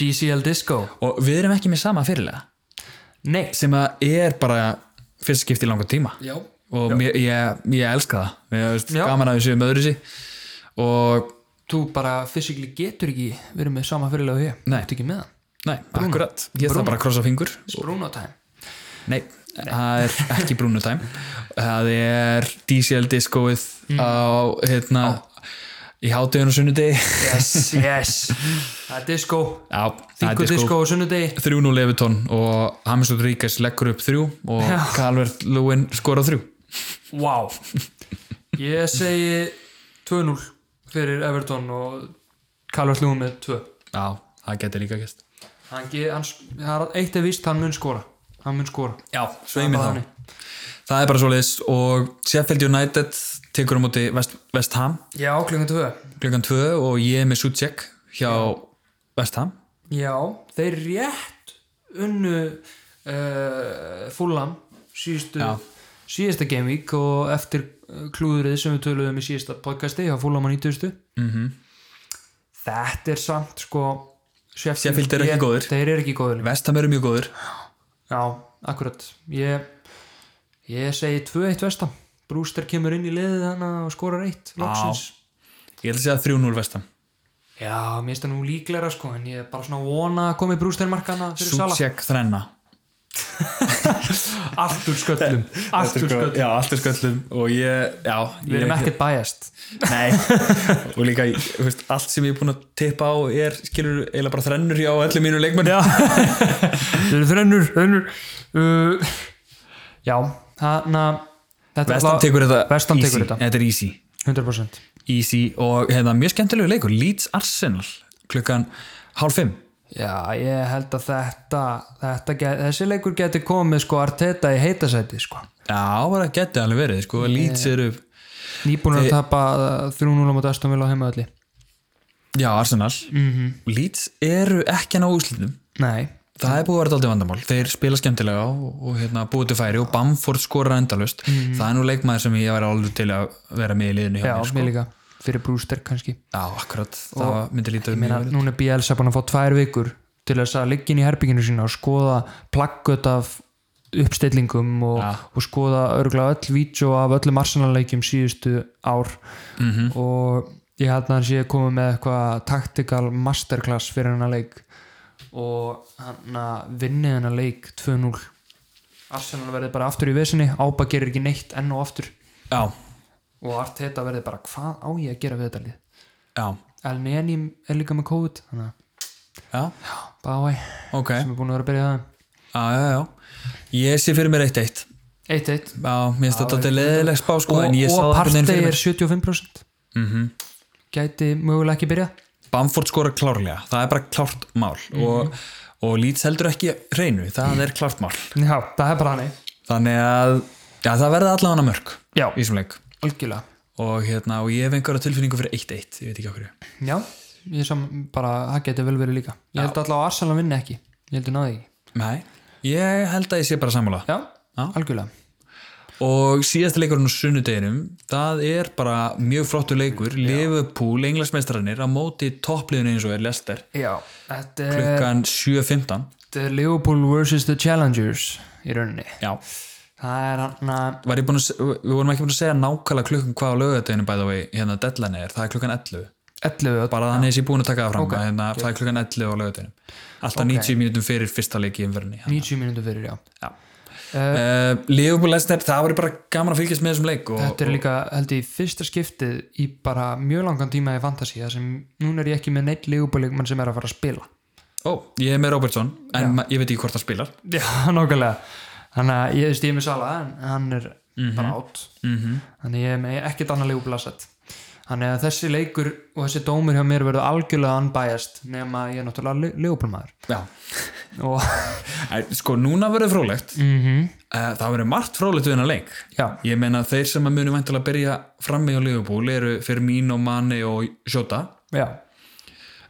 [SPEAKER 2] DCL Disco
[SPEAKER 1] og við erum ekki með sama fyrirlega
[SPEAKER 2] Nei
[SPEAKER 1] sem að er bara fyrst skipt í langan tíma
[SPEAKER 2] Já
[SPEAKER 1] og mér, ég, ég elska það mér finnst
[SPEAKER 2] Já.
[SPEAKER 1] gaman að við séum öðru sí og
[SPEAKER 2] Þú bara fysikli getur ekki verið með sama fyrirlega og ég
[SPEAKER 1] Nei.
[SPEAKER 2] Þú ert ekki með það
[SPEAKER 1] nei, akkurat, ég ætla bara að krossa fingur
[SPEAKER 2] Bruno time
[SPEAKER 1] nei, það er ekki brúnutæm það er DCL diskóið
[SPEAKER 2] Mm.
[SPEAKER 1] á hérna í hátíðun og sunnudegi
[SPEAKER 2] Yes, yes Það er disco
[SPEAKER 1] já, það
[SPEAKER 2] Þingur
[SPEAKER 1] er diskó
[SPEAKER 2] disco á sunnudegi
[SPEAKER 1] 3-0 Evertón og Hamis Rodríguez leggur upp 3 og Calvert Lewin skora 3
[SPEAKER 2] Vá Ég segi 2-0 fyrir Everton og Kallur Hlúum með 2
[SPEAKER 1] já, það getur líka gæst
[SPEAKER 2] hann, ge- hann, sk- það er eitt er víst, hann mun skora hann mun skora
[SPEAKER 1] já,
[SPEAKER 2] Það er
[SPEAKER 1] sveimi
[SPEAKER 2] bara
[SPEAKER 1] þá
[SPEAKER 2] þannig.
[SPEAKER 1] Það er bara svoleiðis og Sheffield United tekur á móti West, West Ham
[SPEAKER 2] Já, klukkan 2
[SPEAKER 1] klukkan 2 og ég er með Sucek hjá West Ham
[SPEAKER 2] Já, þeir rétt unnu uh, fullam síðustu
[SPEAKER 1] Já.
[SPEAKER 2] síðasta Game Week og eftir eh, klúðrið sem við töluðum í síðasta podcasti hjá fullam á 90 mm
[SPEAKER 1] Mhm.
[SPEAKER 2] -hmm. Þetta er samt sko Sheffield,
[SPEAKER 1] Sheffield eru ekki
[SPEAKER 2] ég-
[SPEAKER 1] góðir.
[SPEAKER 2] Þeir eru ekki góður
[SPEAKER 1] West Ham eru mjög góður
[SPEAKER 2] Já, akkurat ég, Ég segi 2-1 vestam Brúster kemur inn í liðið hana og skorar eitt loksins
[SPEAKER 1] Ég ætla að segja 3-0 vestam
[SPEAKER 2] Já, mér finnst það nú líklega sko en ég er bara svona að vona að komi brústeinmarkana fyrir Sútsjö.
[SPEAKER 1] Sútsjek þrenna
[SPEAKER 2] sala Allt úr sköllum Allt úr sköllum
[SPEAKER 1] Já, allt er sköllum og ég, já
[SPEAKER 2] Við
[SPEAKER 1] ég-
[SPEAKER 2] erum ekkert bæjast
[SPEAKER 1] Nei, og líka, þú veist, allt sem ég er búin að tippa á er, skilur, eiginlega bara þrennur hjá öllum mínu leikmenn Já,
[SPEAKER 2] Við erum þrennur, þrennur uh, Já, þarna Þetta
[SPEAKER 1] Vestam tekur þetta
[SPEAKER 2] Vestam tekur
[SPEAKER 1] easy.
[SPEAKER 2] þetta.
[SPEAKER 1] er easy
[SPEAKER 2] 100%
[SPEAKER 1] Easy og hefða mjög skemmtilegu leikur Leeds Arsenal klukkan hálf fimm
[SPEAKER 2] Já, ég held að þetta, þetta get, þessi leikur geti komið sko Arteta í heitasæti sko
[SPEAKER 1] Já, bara geti alveg verið, sko Leeds eru,
[SPEAKER 2] Nýbúin að tapa uh, 3-0 á móti Aston Villa á heimaðalli
[SPEAKER 1] já, Arsenal
[SPEAKER 2] Mhm.
[SPEAKER 1] -hmm. Leeds eru ekki að ná úslitum
[SPEAKER 2] Nei,
[SPEAKER 1] Það er búið að vera daldið vandamál, þeir spila skemmtilega og, og hérna, búið til færi og Bamford skorar endalust, það er nú leikmaður sem ég væri alveg til að vera með í liðinu hjá
[SPEAKER 2] Mhm. já,
[SPEAKER 1] mér, sko.
[SPEAKER 2] mér líka fyrir Brewster kannski
[SPEAKER 1] Já, akkurat, það var- myndi lítið
[SPEAKER 2] Meina, Hérna, Núna er Bielsa búin að fá tvær vikur til þess að liggja inn í herbygginu sína og skoða plaggöt af uppstillingum og,
[SPEAKER 1] Já.
[SPEAKER 2] og skoða örgulega öll vídeo af öllum arsenaleikjum síðustu ár -hmm. og ég held að hann sé að koma með eitthvað tactical masterclass fyrir hennar leik og hann að vinni hennar leik 2-0 Arsenal verði bara aftur í vesinni, Ába gerir ekki neitt enn og aftur
[SPEAKER 1] Já,
[SPEAKER 2] og Arteta verði bara hvað á ég að gera við þetta lið
[SPEAKER 1] já,
[SPEAKER 2] Elneni er líka með COVID þannig að
[SPEAKER 1] já,
[SPEAKER 2] Báæ,
[SPEAKER 1] ok
[SPEAKER 2] sem er búin að vera að byrja það
[SPEAKER 1] Já, já, já Ég sé fyrir mér eitt eitt
[SPEAKER 2] Eitt, eitt
[SPEAKER 1] Já, mér finnst þetta leðileg spá sko
[SPEAKER 2] Og,
[SPEAKER 1] En ég sá
[SPEAKER 2] og
[SPEAKER 1] það
[SPEAKER 2] partey
[SPEAKER 1] fyrir
[SPEAKER 2] er
[SPEAKER 1] mér Mhm.
[SPEAKER 2] 75% Gæti mögulega ekki byrja
[SPEAKER 1] Bamford skora klárlega, það er bara klárt mál
[SPEAKER 2] Mhm.
[SPEAKER 1] og, og Leeds heldur ekki reynu, það er klárt mál
[SPEAKER 2] Já, það er bara hannig
[SPEAKER 1] Þannig að, já það verða allavega mörg
[SPEAKER 2] Já,
[SPEAKER 1] í þessum leik
[SPEAKER 2] algjörlega
[SPEAKER 1] og, hérna, og ég hef einhverja tilfinningu fyrir 1-1 ég veit ekki okkur
[SPEAKER 2] Já, ég sam bara, það gæti vel verið líka Ég held alltaf að Arsenal vinni ekki Ég held að náði ekki
[SPEAKER 1] Nei, ég held að ég sé bara sammála
[SPEAKER 2] Já, algjörlega
[SPEAKER 1] og síðasta leikurinn á sunnudeginum það er bara mjög flottu leikur Liverpool, englansmestrarnir á móti toppliðinu eins og er Lester
[SPEAKER 2] Já, þetta er,
[SPEAKER 1] klukkan 7.15
[SPEAKER 2] þetta er Liverpool vs. The Challengers í rauninni
[SPEAKER 1] Já,
[SPEAKER 2] Það er hann að
[SPEAKER 1] var ég búin að, se- við vorum ekki búin að segja nákvæmlega klukkan hvað á lögadeginu bæði og hérna deadline er, það er klukkan 11
[SPEAKER 2] 11
[SPEAKER 1] bara þannig að ég búin að taka það fram okay. hérna, það er klukkan 11 á lögadeginu alltaf 90 mínútum fyrir fyrsta leiki í umverðinni uh,
[SPEAKER 2] 90 mínútur fyrir, já
[SPEAKER 1] Liverpool Leicester, það var bara gaman að fylgjast með þessum leik og,
[SPEAKER 2] Þetta er líka, held ég, fyrsta skiptið í bara mjög langan tíma í fantasy þar sem núna er ég ekki með neitt leigubóleikmann sem er að fara að spila
[SPEAKER 1] ó, ég er með Robertson en ma- ég veit ekki hvort það spilar
[SPEAKER 2] Já, nákvæmlega Mhm. Þannig að ég veist ég er með Sala en hann er bara átt -hmm. Þannig ég er með ekkert annað leigubólasett Þannig að þessi leikur og þessi dómur hjá mér verður algjörlega unbiased nema að ég er náttúrulega leigubólmaður
[SPEAKER 1] Já,
[SPEAKER 2] og
[SPEAKER 1] Æ, sko núna verður frólegt
[SPEAKER 2] mm -hmm.
[SPEAKER 1] Eh, það verður margt frálegt við hennar leik
[SPEAKER 2] Já.
[SPEAKER 1] ég meina þeir sem að munum væntalega byrja frammi á Liverpool eru Firmino, Mane og Jota
[SPEAKER 2] Já,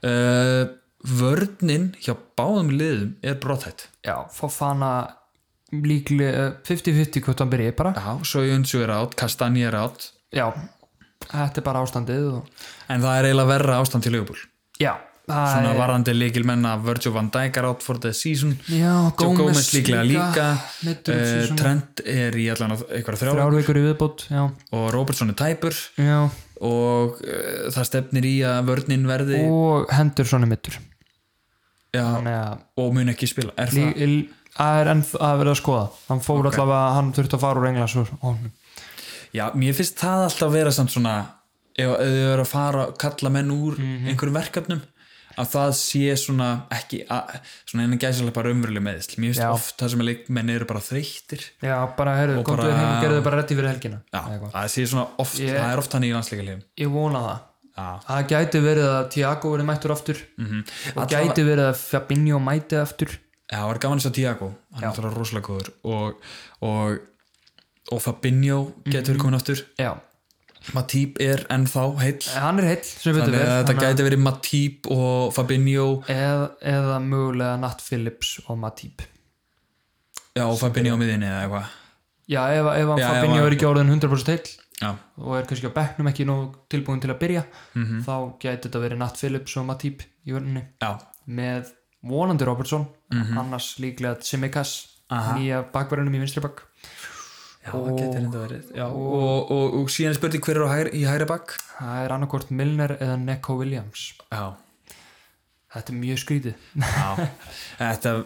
[SPEAKER 1] uh, vörnin hjá báðum liðum er brothætt
[SPEAKER 2] já, fá fana líklega 50-50 hvort hann byrja bara
[SPEAKER 1] já, Söjunsu er átt, Kastani er átt
[SPEAKER 2] Já, þetta er bara ástandið og
[SPEAKER 1] en það er eiginlega verra ástand til Liverpool
[SPEAKER 2] Já, það
[SPEAKER 1] svona
[SPEAKER 2] er
[SPEAKER 1] varandi leikilmenna Virgil van Dijk er átt for the season
[SPEAKER 2] Já,
[SPEAKER 1] Joe Gómez líklega líka
[SPEAKER 2] Meiddur út
[SPEAKER 1] uh,
[SPEAKER 2] síðan.
[SPEAKER 1] Trent er í allan að- einhverja þrjá
[SPEAKER 2] Þrjár vikur í viðbót, já,
[SPEAKER 1] og Robertson er tæpur
[SPEAKER 2] já.
[SPEAKER 1] og uh, það stefnir í að vörnin verði
[SPEAKER 2] Og Henderson er mittur
[SPEAKER 1] já,
[SPEAKER 2] Þannig að
[SPEAKER 1] og mun ekki spila er það
[SPEAKER 2] lí- l- það er enn að verða að skoða Hann fór allavega, hann þurfti að fara úr englas og honum
[SPEAKER 1] Já, mér finnst það alltaf vera samt svona ef ef þau eru að fara að kalla menn úr
[SPEAKER 2] Mhm.
[SPEAKER 1] einhverjum verkefnum að það sé svona ekki að, svona innan gæsilega bara umveruleg meðisl mér finnst
[SPEAKER 2] Já.
[SPEAKER 1] oft það sem að leikmenn eru bara þreyttir
[SPEAKER 2] Já, bara heyrðu, komdu þér
[SPEAKER 1] bara-
[SPEAKER 2] heim og gerðu þau bara reddi fyrir helgina
[SPEAKER 1] Já,
[SPEAKER 2] Eða eitthvað.
[SPEAKER 1] það sé svona oft,
[SPEAKER 2] Ég-
[SPEAKER 1] það er oft hann í landsleika liðum
[SPEAKER 2] Ég vona það
[SPEAKER 1] Já,
[SPEAKER 2] Það gæti verið að Tiago verið mættur aftur -hmm. og
[SPEAKER 1] Alla-
[SPEAKER 2] gæti verið að Fabinho mæti aftur
[SPEAKER 1] Já, það var gaman þess að Tiago hann er alltaf rosalega góður og, og, og Fabinho
[SPEAKER 2] Mhm.
[SPEAKER 1] getur mm komin aftur
[SPEAKER 2] Já,
[SPEAKER 1] Matip er ennþá heill
[SPEAKER 2] En hann er heill sem betur
[SPEAKER 1] þannig
[SPEAKER 2] verið
[SPEAKER 1] að þetta gæti verið Matip og Fabinho
[SPEAKER 2] eða, eða mögulega Nat Phillips og Matip
[SPEAKER 1] já, og Fabinho á miðinni eða eitthvað
[SPEAKER 2] Já, ef, ef hann
[SPEAKER 1] Já,
[SPEAKER 2] Fabinho
[SPEAKER 1] ef hann-
[SPEAKER 2] er ekki orðin 100% heill
[SPEAKER 1] Já,
[SPEAKER 2] og er kannski á bekknum ekki nóg tilbúin til að byrja þá gæti þetta verið Nat Phillips og Matip í vörninni
[SPEAKER 1] já,
[SPEAKER 2] með vonandi Robertson annars líklega Tsimikas nýja bakverðunum í vinstri bakk
[SPEAKER 1] Já, það getur þetta verið Já, og, og, og, og síðan er spurning hver er á hægri, í hægri bakk
[SPEAKER 2] það er annarkort Milner eða Neko Williams
[SPEAKER 1] Já,
[SPEAKER 2] þetta er mjög skrítið
[SPEAKER 1] já Þetta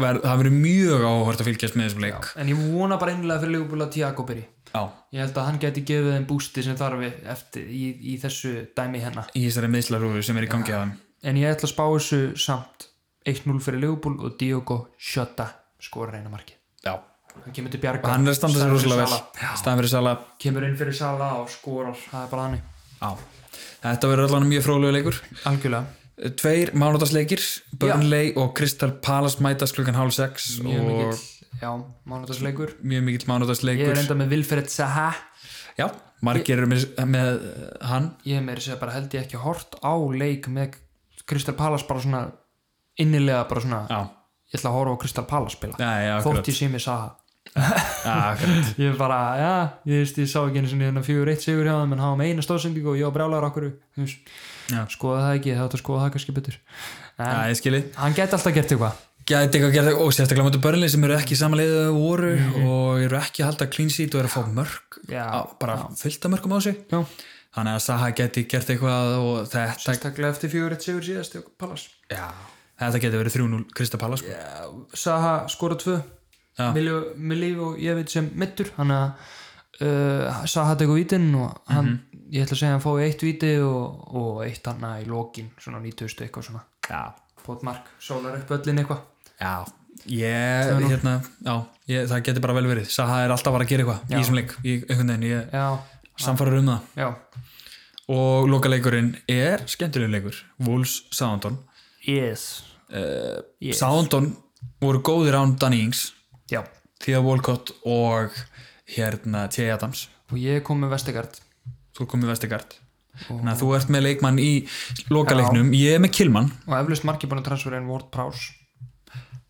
[SPEAKER 1] ver, það verður mjög áhört að fylgjast með þessum leik
[SPEAKER 2] en ég vona bara einlega fyrir Liverpool að Tiago byrji
[SPEAKER 1] Já,
[SPEAKER 2] ég held að hann geti gefið þeim bústi sem þarf eftir, í, í þessu dæmi hérna. hennar
[SPEAKER 1] í þessari meðslarúfi sem er í gangi af hann
[SPEAKER 2] en ég ætla að spá þessu samt 1-0 fyrir Liverpool og Diogo Shota skora reyna markið
[SPEAKER 1] Já,
[SPEAKER 2] hann kemur til bjarga
[SPEAKER 1] hann er að standa sér
[SPEAKER 2] staðar fyrir
[SPEAKER 1] rosalega
[SPEAKER 2] Sala.
[SPEAKER 1] vel Staðan fyrir Sala
[SPEAKER 2] kemur inn fyrir Sala og skorar það er bara hann
[SPEAKER 1] Já, þetta verður allan mjög frólugur leikur
[SPEAKER 2] algjörlega
[SPEAKER 1] Tveir mánudagsleikir, Burnley og Crystal Palace mætast klukkan hálf sex
[SPEAKER 2] mjög
[SPEAKER 1] og
[SPEAKER 2] mikill já, mánudagsleikur
[SPEAKER 1] mjög mikill
[SPEAKER 2] ég
[SPEAKER 1] mánudagsleikur
[SPEAKER 2] er enda með Vilfred Saha
[SPEAKER 1] Já, margir eru með, með eh, hann
[SPEAKER 2] ég er meira að segja bara held ég ekki hort á leik með Kristal Palace bara svona innilega bara svona
[SPEAKER 1] Já,
[SPEAKER 2] ég ætla að horfa á Kristal Palace spila
[SPEAKER 1] já, já, akkurat,
[SPEAKER 2] þótt ég sé mig Saha
[SPEAKER 1] já, akkurat.
[SPEAKER 2] ég bara, já, ég veist, ég sá ekki einu sinni þennan fjögur eitt sigur hjá það, menn hafa með eina stóðsendingu og ég á brjálagur okkur
[SPEAKER 1] Já.
[SPEAKER 2] skoða það ekki, þá ætla að skoða það kannski betur
[SPEAKER 1] Já,
[SPEAKER 2] en
[SPEAKER 1] ég skilji
[SPEAKER 2] hann geti alltaf gert eitthvað
[SPEAKER 1] Gæti eitthvað að gera það og sérstaklega mútið börnlið sem eru ekki í sama liðið og voru og eru ekki að halda clean sheet og eru að fá mörg
[SPEAKER 2] Já,
[SPEAKER 1] á, bara fullt af mörgum á sig
[SPEAKER 2] já,
[SPEAKER 1] þannig að Saha geti gert eitthvað og þetta,
[SPEAKER 2] sérstaklega eftir fjögur eitt sigur síðast hjá Pallas
[SPEAKER 1] já, þetta geti verið 3-0 Kristapalla sko.
[SPEAKER 2] Saha skora tvö
[SPEAKER 1] Já.
[SPEAKER 2] Milíf og ég veit sem mittur hann að uh, Saha tekur vítin og hann, ég ætla að segja hann fái eitt víti og, og eitt hann í lokin, svona 90 eitthvað svona
[SPEAKER 1] Já,
[SPEAKER 2] Pótmark, sólar upp öllin eitthvað
[SPEAKER 1] já ég, hérna, já, ég, það geti bara vel verið Saha er alltaf bara að gera eitthvað í þessum leik í einhvern veginn, ég
[SPEAKER 2] Já,
[SPEAKER 1] samfarar um það
[SPEAKER 2] já,
[SPEAKER 1] og lokaleikurinn er skemmtilegur leikur Wolves Southampton
[SPEAKER 2] Yes. Yes.
[SPEAKER 1] Southampton voru góðir án Danny Ings
[SPEAKER 2] Já.
[SPEAKER 1] Thea Walcott og hérna T. Adams
[SPEAKER 2] Og ég kom með Vestegard.
[SPEAKER 1] þú komið vestigard þannig að þú ert með leikmann í lokaleiknum ég er með Kilmann
[SPEAKER 2] Og eflust marki búin að transfera inn Ward Prowse.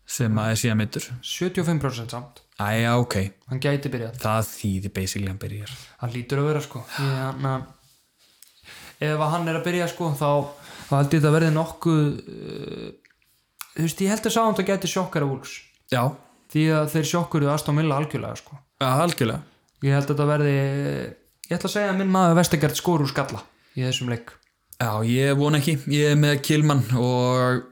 [SPEAKER 1] sem að er síðan mittur
[SPEAKER 2] 75% samt.
[SPEAKER 1] æja ok,
[SPEAKER 2] Hann gæti byrjað.
[SPEAKER 1] það þýðir basically hann byrjar
[SPEAKER 2] Hann lítur að vera sko. Ég, hann að... Ef að hann er að byrja sko þá, þá held ég þetta verði nokkuð... Uh, þú veist, ég held að sáum þetta gæti sjokkara úls.
[SPEAKER 1] já,
[SPEAKER 2] Því að þeir sjokkuruðu Aston Villa algjörlega sko.
[SPEAKER 1] ja, algjörlega
[SPEAKER 2] Ég held að þetta verði... Ég ætla að segja að minn maður Vestegard skor úr skalla í þessum leik.
[SPEAKER 1] já, ég von ekki, ég er með Kilmann og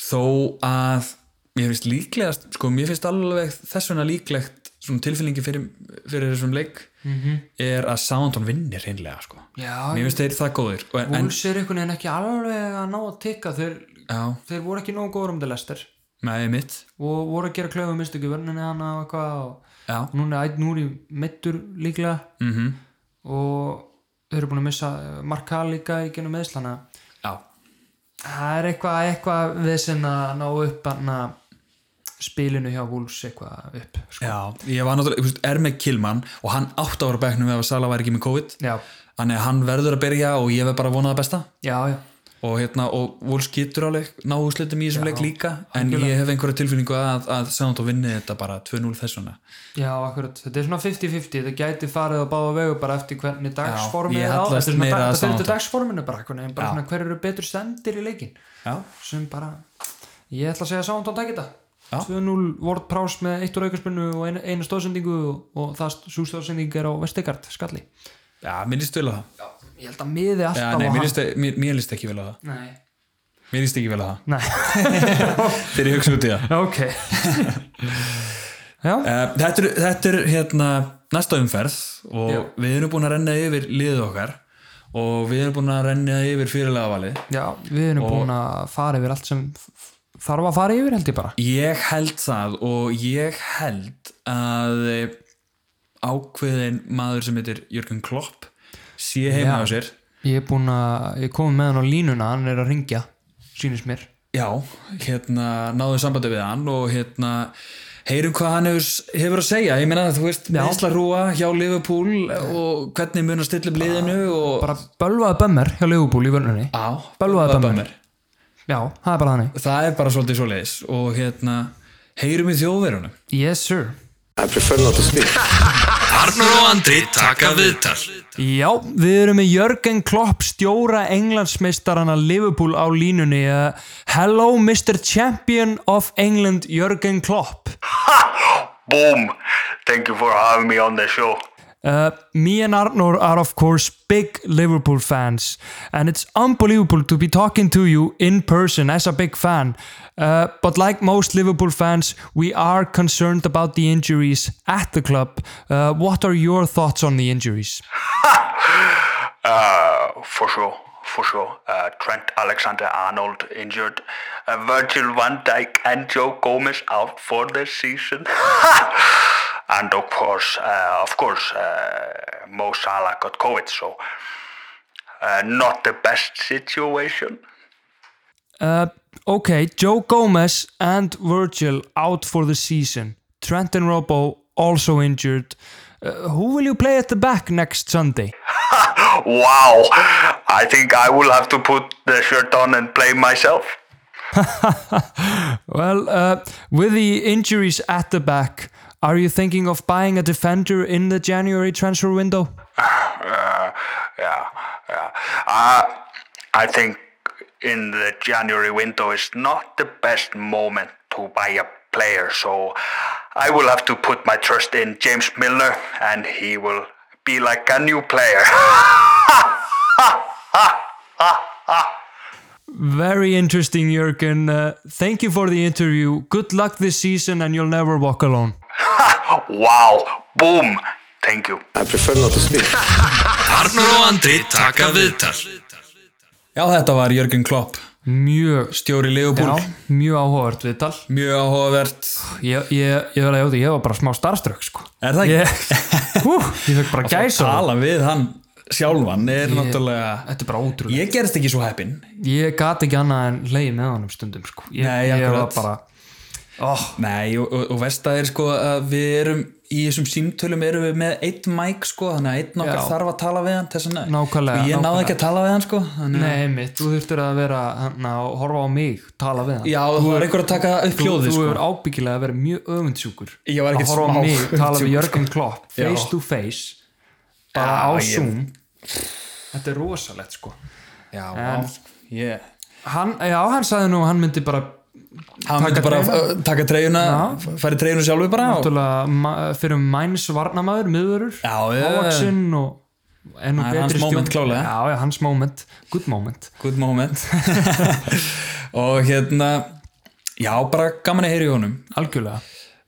[SPEAKER 1] þó að mér finnst líklegast, sko mér finnst alveg þess vegna líklegt svona tilfinningi fyrir, fyrir þessum leik -hmm. er að Soundon vinnir hinnlega sko,
[SPEAKER 2] Já,
[SPEAKER 1] mér finnst þeir það góðir Og- en,
[SPEAKER 2] úls er einhvern veginn ekki alveg að ná að tikka þeir
[SPEAKER 1] já,
[SPEAKER 2] þeir voru ekki nógu góður um til lester
[SPEAKER 1] með mitt
[SPEAKER 2] og voru að gera klöfu mistöku vörninni hana og eitthvað og
[SPEAKER 1] já,
[SPEAKER 2] núna er ætt núri mittur líklega
[SPEAKER 1] mhm
[SPEAKER 2] og þeir eru búin að missa marka líka í genum meðslana
[SPEAKER 1] já,
[SPEAKER 2] það er eitthvað, eitthvað við sem að ná upp hana spilinu hjá Wolves eitthvað upp sko.
[SPEAKER 1] Já, ég var náttúrulega, þú veist, er með Kilman og hann átt ára bæknum ef að Sala væri ekki með COVID
[SPEAKER 2] já,
[SPEAKER 1] þannig að hann verður að byrja og ég verð bara að vona það besta
[SPEAKER 2] já, já
[SPEAKER 1] og hérna, og Wolves getur alveg náðu slitum í þessum leik líka en ég hef einhverja tilfinningu að, að Sándó vinni þetta bara 2-0 þessuna
[SPEAKER 2] Já, akkurat, þetta er svona 50-50 þetta gæti farið á báða vegu bara eftir hvernig dagsformið
[SPEAKER 1] ég
[SPEAKER 2] er á
[SPEAKER 1] hallast
[SPEAKER 2] þetta er svona
[SPEAKER 1] meira að
[SPEAKER 2] dag- þetta fyrir
[SPEAKER 1] Southampton.
[SPEAKER 2] til dagsforminu bara, hvernig, bara svona, hver eru betur sendir í leikin
[SPEAKER 1] Já,
[SPEAKER 2] sem bara ég ætla að segja Soundon takk
[SPEAKER 1] Já.
[SPEAKER 2] þetta 2-0 Ward Prowse með eitt úr aukarspunnu og eina, eina stóðsendingu og það svo stóðsending er á Vestegard skalli
[SPEAKER 1] já mér líst vel á það
[SPEAKER 2] Já, ég held að miði alltaf
[SPEAKER 1] Já,
[SPEAKER 2] á
[SPEAKER 1] nei, mér
[SPEAKER 2] hann
[SPEAKER 1] líst, mér, mér líst ekki vel á það
[SPEAKER 2] nei.
[SPEAKER 1] Mér líst ekki vel á það
[SPEAKER 2] nei,
[SPEAKER 1] þegar ég hugsa út í það
[SPEAKER 2] ok já,
[SPEAKER 1] Uh, þetta, er, þetta er hérna næsta umferð og
[SPEAKER 2] Já.
[SPEAKER 1] við erum búin að renna yfir liðið okkar og við erum búin að renna yfir fyrirlega valið
[SPEAKER 2] já, við erum búin að fara yfir allt sem f- þarf að fara yfir held ég bara
[SPEAKER 1] Ég held það og ég held að eh, ákveðin maður sem heitir Jörgen Klopp sé heima á sér
[SPEAKER 2] ég er búin að, ég kom með hann á línuna hann er að ringja, sýnist mér
[SPEAKER 1] Já, hérna náðu sambandi við hann og hérna heyrum hvað hann hefur, hefur að segja ég meina þú veist, meðsla rúa hjá Liverpool og hvernig mun að stilla upp liðinu og
[SPEAKER 2] bara bölvaði bömmar hjá Leifubúl í vörnunni
[SPEAKER 1] á,
[SPEAKER 2] Bölvaði bömmir. já, það er bara þannig
[SPEAKER 1] það er bara svolítið svoleiðis og hérna, heyrum í þjóðverunum
[SPEAKER 2] yes sir
[SPEAKER 3] I prefer not to speak.
[SPEAKER 1] Arnur og Andri taka viðtal
[SPEAKER 2] Já, við erum með Jörgen Klopp stjóra englandsmeistarana Liverpool á línunni Uh, Hello Mr. Champion of England Jörgen Klopp
[SPEAKER 4] Boom!
[SPEAKER 3] Thank you for having me on the show.
[SPEAKER 2] Uh, me and Arnor are, of course, big Liverpool fans, and it's unbelievable to be talking to you in person as a big fan. Uh, but like most Liverpool fans, we are concerned about the injuries at the club. Uh, what are your thoughts on the injuries?
[SPEAKER 3] Uh, for sure, for sure. Uh, Trent Alexander-Arnold injured. Uh, Virgil van Dijk and Joe Gomez out for the season. and of course, uh, of course, uh, Mo Salah got COVID, so uh, not the best situation.
[SPEAKER 2] Okay, Joe Gomez and Virgil out for the season. Trent and Robbo also injured. Uh, who will you play at the back next Sunday?
[SPEAKER 3] Wow, I think I will have to put the shirt on and play myself.
[SPEAKER 2] Well, uh, with the injuries at the back, are you thinking of buying a defender in the January transfer window?
[SPEAKER 3] Uh, yeah, yeah. Uh, I think in the January window is not the best moment to buy a player, so I will have to put my trust in James Milner, and he will be like a new player.
[SPEAKER 2] Very interesting, Jurgen. Uh, thank you for the interview. Good luck this season, and you'll never walk alone.
[SPEAKER 3] wow, boom! Thank you.
[SPEAKER 4] I prefer not to speak.
[SPEAKER 1] Arnur og Andri taka viðtal Já, þetta var Jörgen Klopp
[SPEAKER 2] Mjög,
[SPEAKER 1] stjóri
[SPEAKER 2] já,
[SPEAKER 1] Leopold,
[SPEAKER 2] mjög áhugavert viðtal.
[SPEAKER 1] mjög áhugavert
[SPEAKER 2] Ég, ég, ég verði að jóta, ég var bara smá starströk, sko.
[SPEAKER 1] Er það
[SPEAKER 2] Ég,
[SPEAKER 1] ekki?
[SPEAKER 2] hú, ég fekk bara gæsa.
[SPEAKER 1] Tala við hann sjálfan er náttúrulega
[SPEAKER 2] Þetta er bara ótrúlega.
[SPEAKER 1] Ég gerist ekki svo heppin
[SPEAKER 2] ég gat ekki annað en leið með honum stundum sko. ég,
[SPEAKER 1] Nei,
[SPEAKER 2] ég var
[SPEAKER 1] akkurat.
[SPEAKER 2] bara oh,
[SPEAKER 1] Nei, og, og, og vest að er sko að við erum í þessum símtölum erum við með einn mæk sko, þannig að einn okkar
[SPEAKER 2] Já.
[SPEAKER 1] þarf að tala við hann þess að
[SPEAKER 2] Nákvæmlega,
[SPEAKER 1] og ég náði ekki að tala við hann sko þannig, að-
[SPEAKER 2] nei mitt, þú þurftir að vera hana, og horfa á mig, tala við hann
[SPEAKER 1] Já, það var einhver að taka upp
[SPEAKER 2] þú,
[SPEAKER 1] hljóðið
[SPEAKER 2] þú
[SPEAKER 1] sko
[SPEAKER 2] hefur ábyggilega verið mjög öfundsjúkur
[SPEAKER 1] Ég var
[SPEAKER 2] að
[SPEAKER 1] ekkert
[SPEAKER 2] horfa á
[SPEAKER 1] smá
[SPEAKER 2] mig, tala við
[SPEAKER 1] öfundsjúkur, sko.
[SPEAKER 2] Jörgen Klopp
[SPEAKER 1] Já.
[SPEAKER 2] face to face bara á
[SPEAKER 1] Já, ég-
[SPEAKER 2] Zoom þetta er rosalegt sko
[SPEAKER 1] Já,
[SPEAKER 2] En-
[SPEAKER 1] já, yeah.
[SPEAKER 2] hann, já, hann sagði nú að hann myndi bara
[SPEAKER 1] Hann myndi
[SPEAKER 2] Taka
[SPEAKER 1] bara
[SPEAKER 2] treyjuna?
[SPEAKER 1] að taka treyjuna færi treyjunu sjálfur bara og
[SPEAKER 2] náttúrulega ma- fyrir mæns varnamaður, miðurur
[SPEAKER 1] Já, já, já.
[SPEAKER 2] hávaksinn og enn og
[SPEAKER 1] Það er
[SPEAKER 2] betri
[SPEAKER 1] hans
[SPEAKER 2] stjórn-
[SPEAKER 1] moment klálega.
[SPEAKER 2] já, já, hans moment, good moment
[SPEAKER 1] good moment og hérna já, bara gaman að heyra í honum
[SPEAKER 2] algjörlega,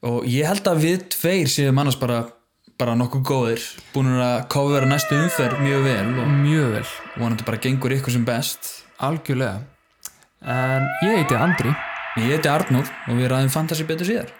[SPEAKER 1] og ég held að við tveir séum annars bara, bara nokkuð góðir búin að kofvera næstu umferð mjög vel og
[SPEAKER 2] mjög vel
[SPEAKER 1] vonandi bara gengur ykkur sem best
[SPEAKER 2] algjörlega en ég heiti Andri
[SPEAKER 1] ég heiti Arnúr og við ræðum fantasy betur síðar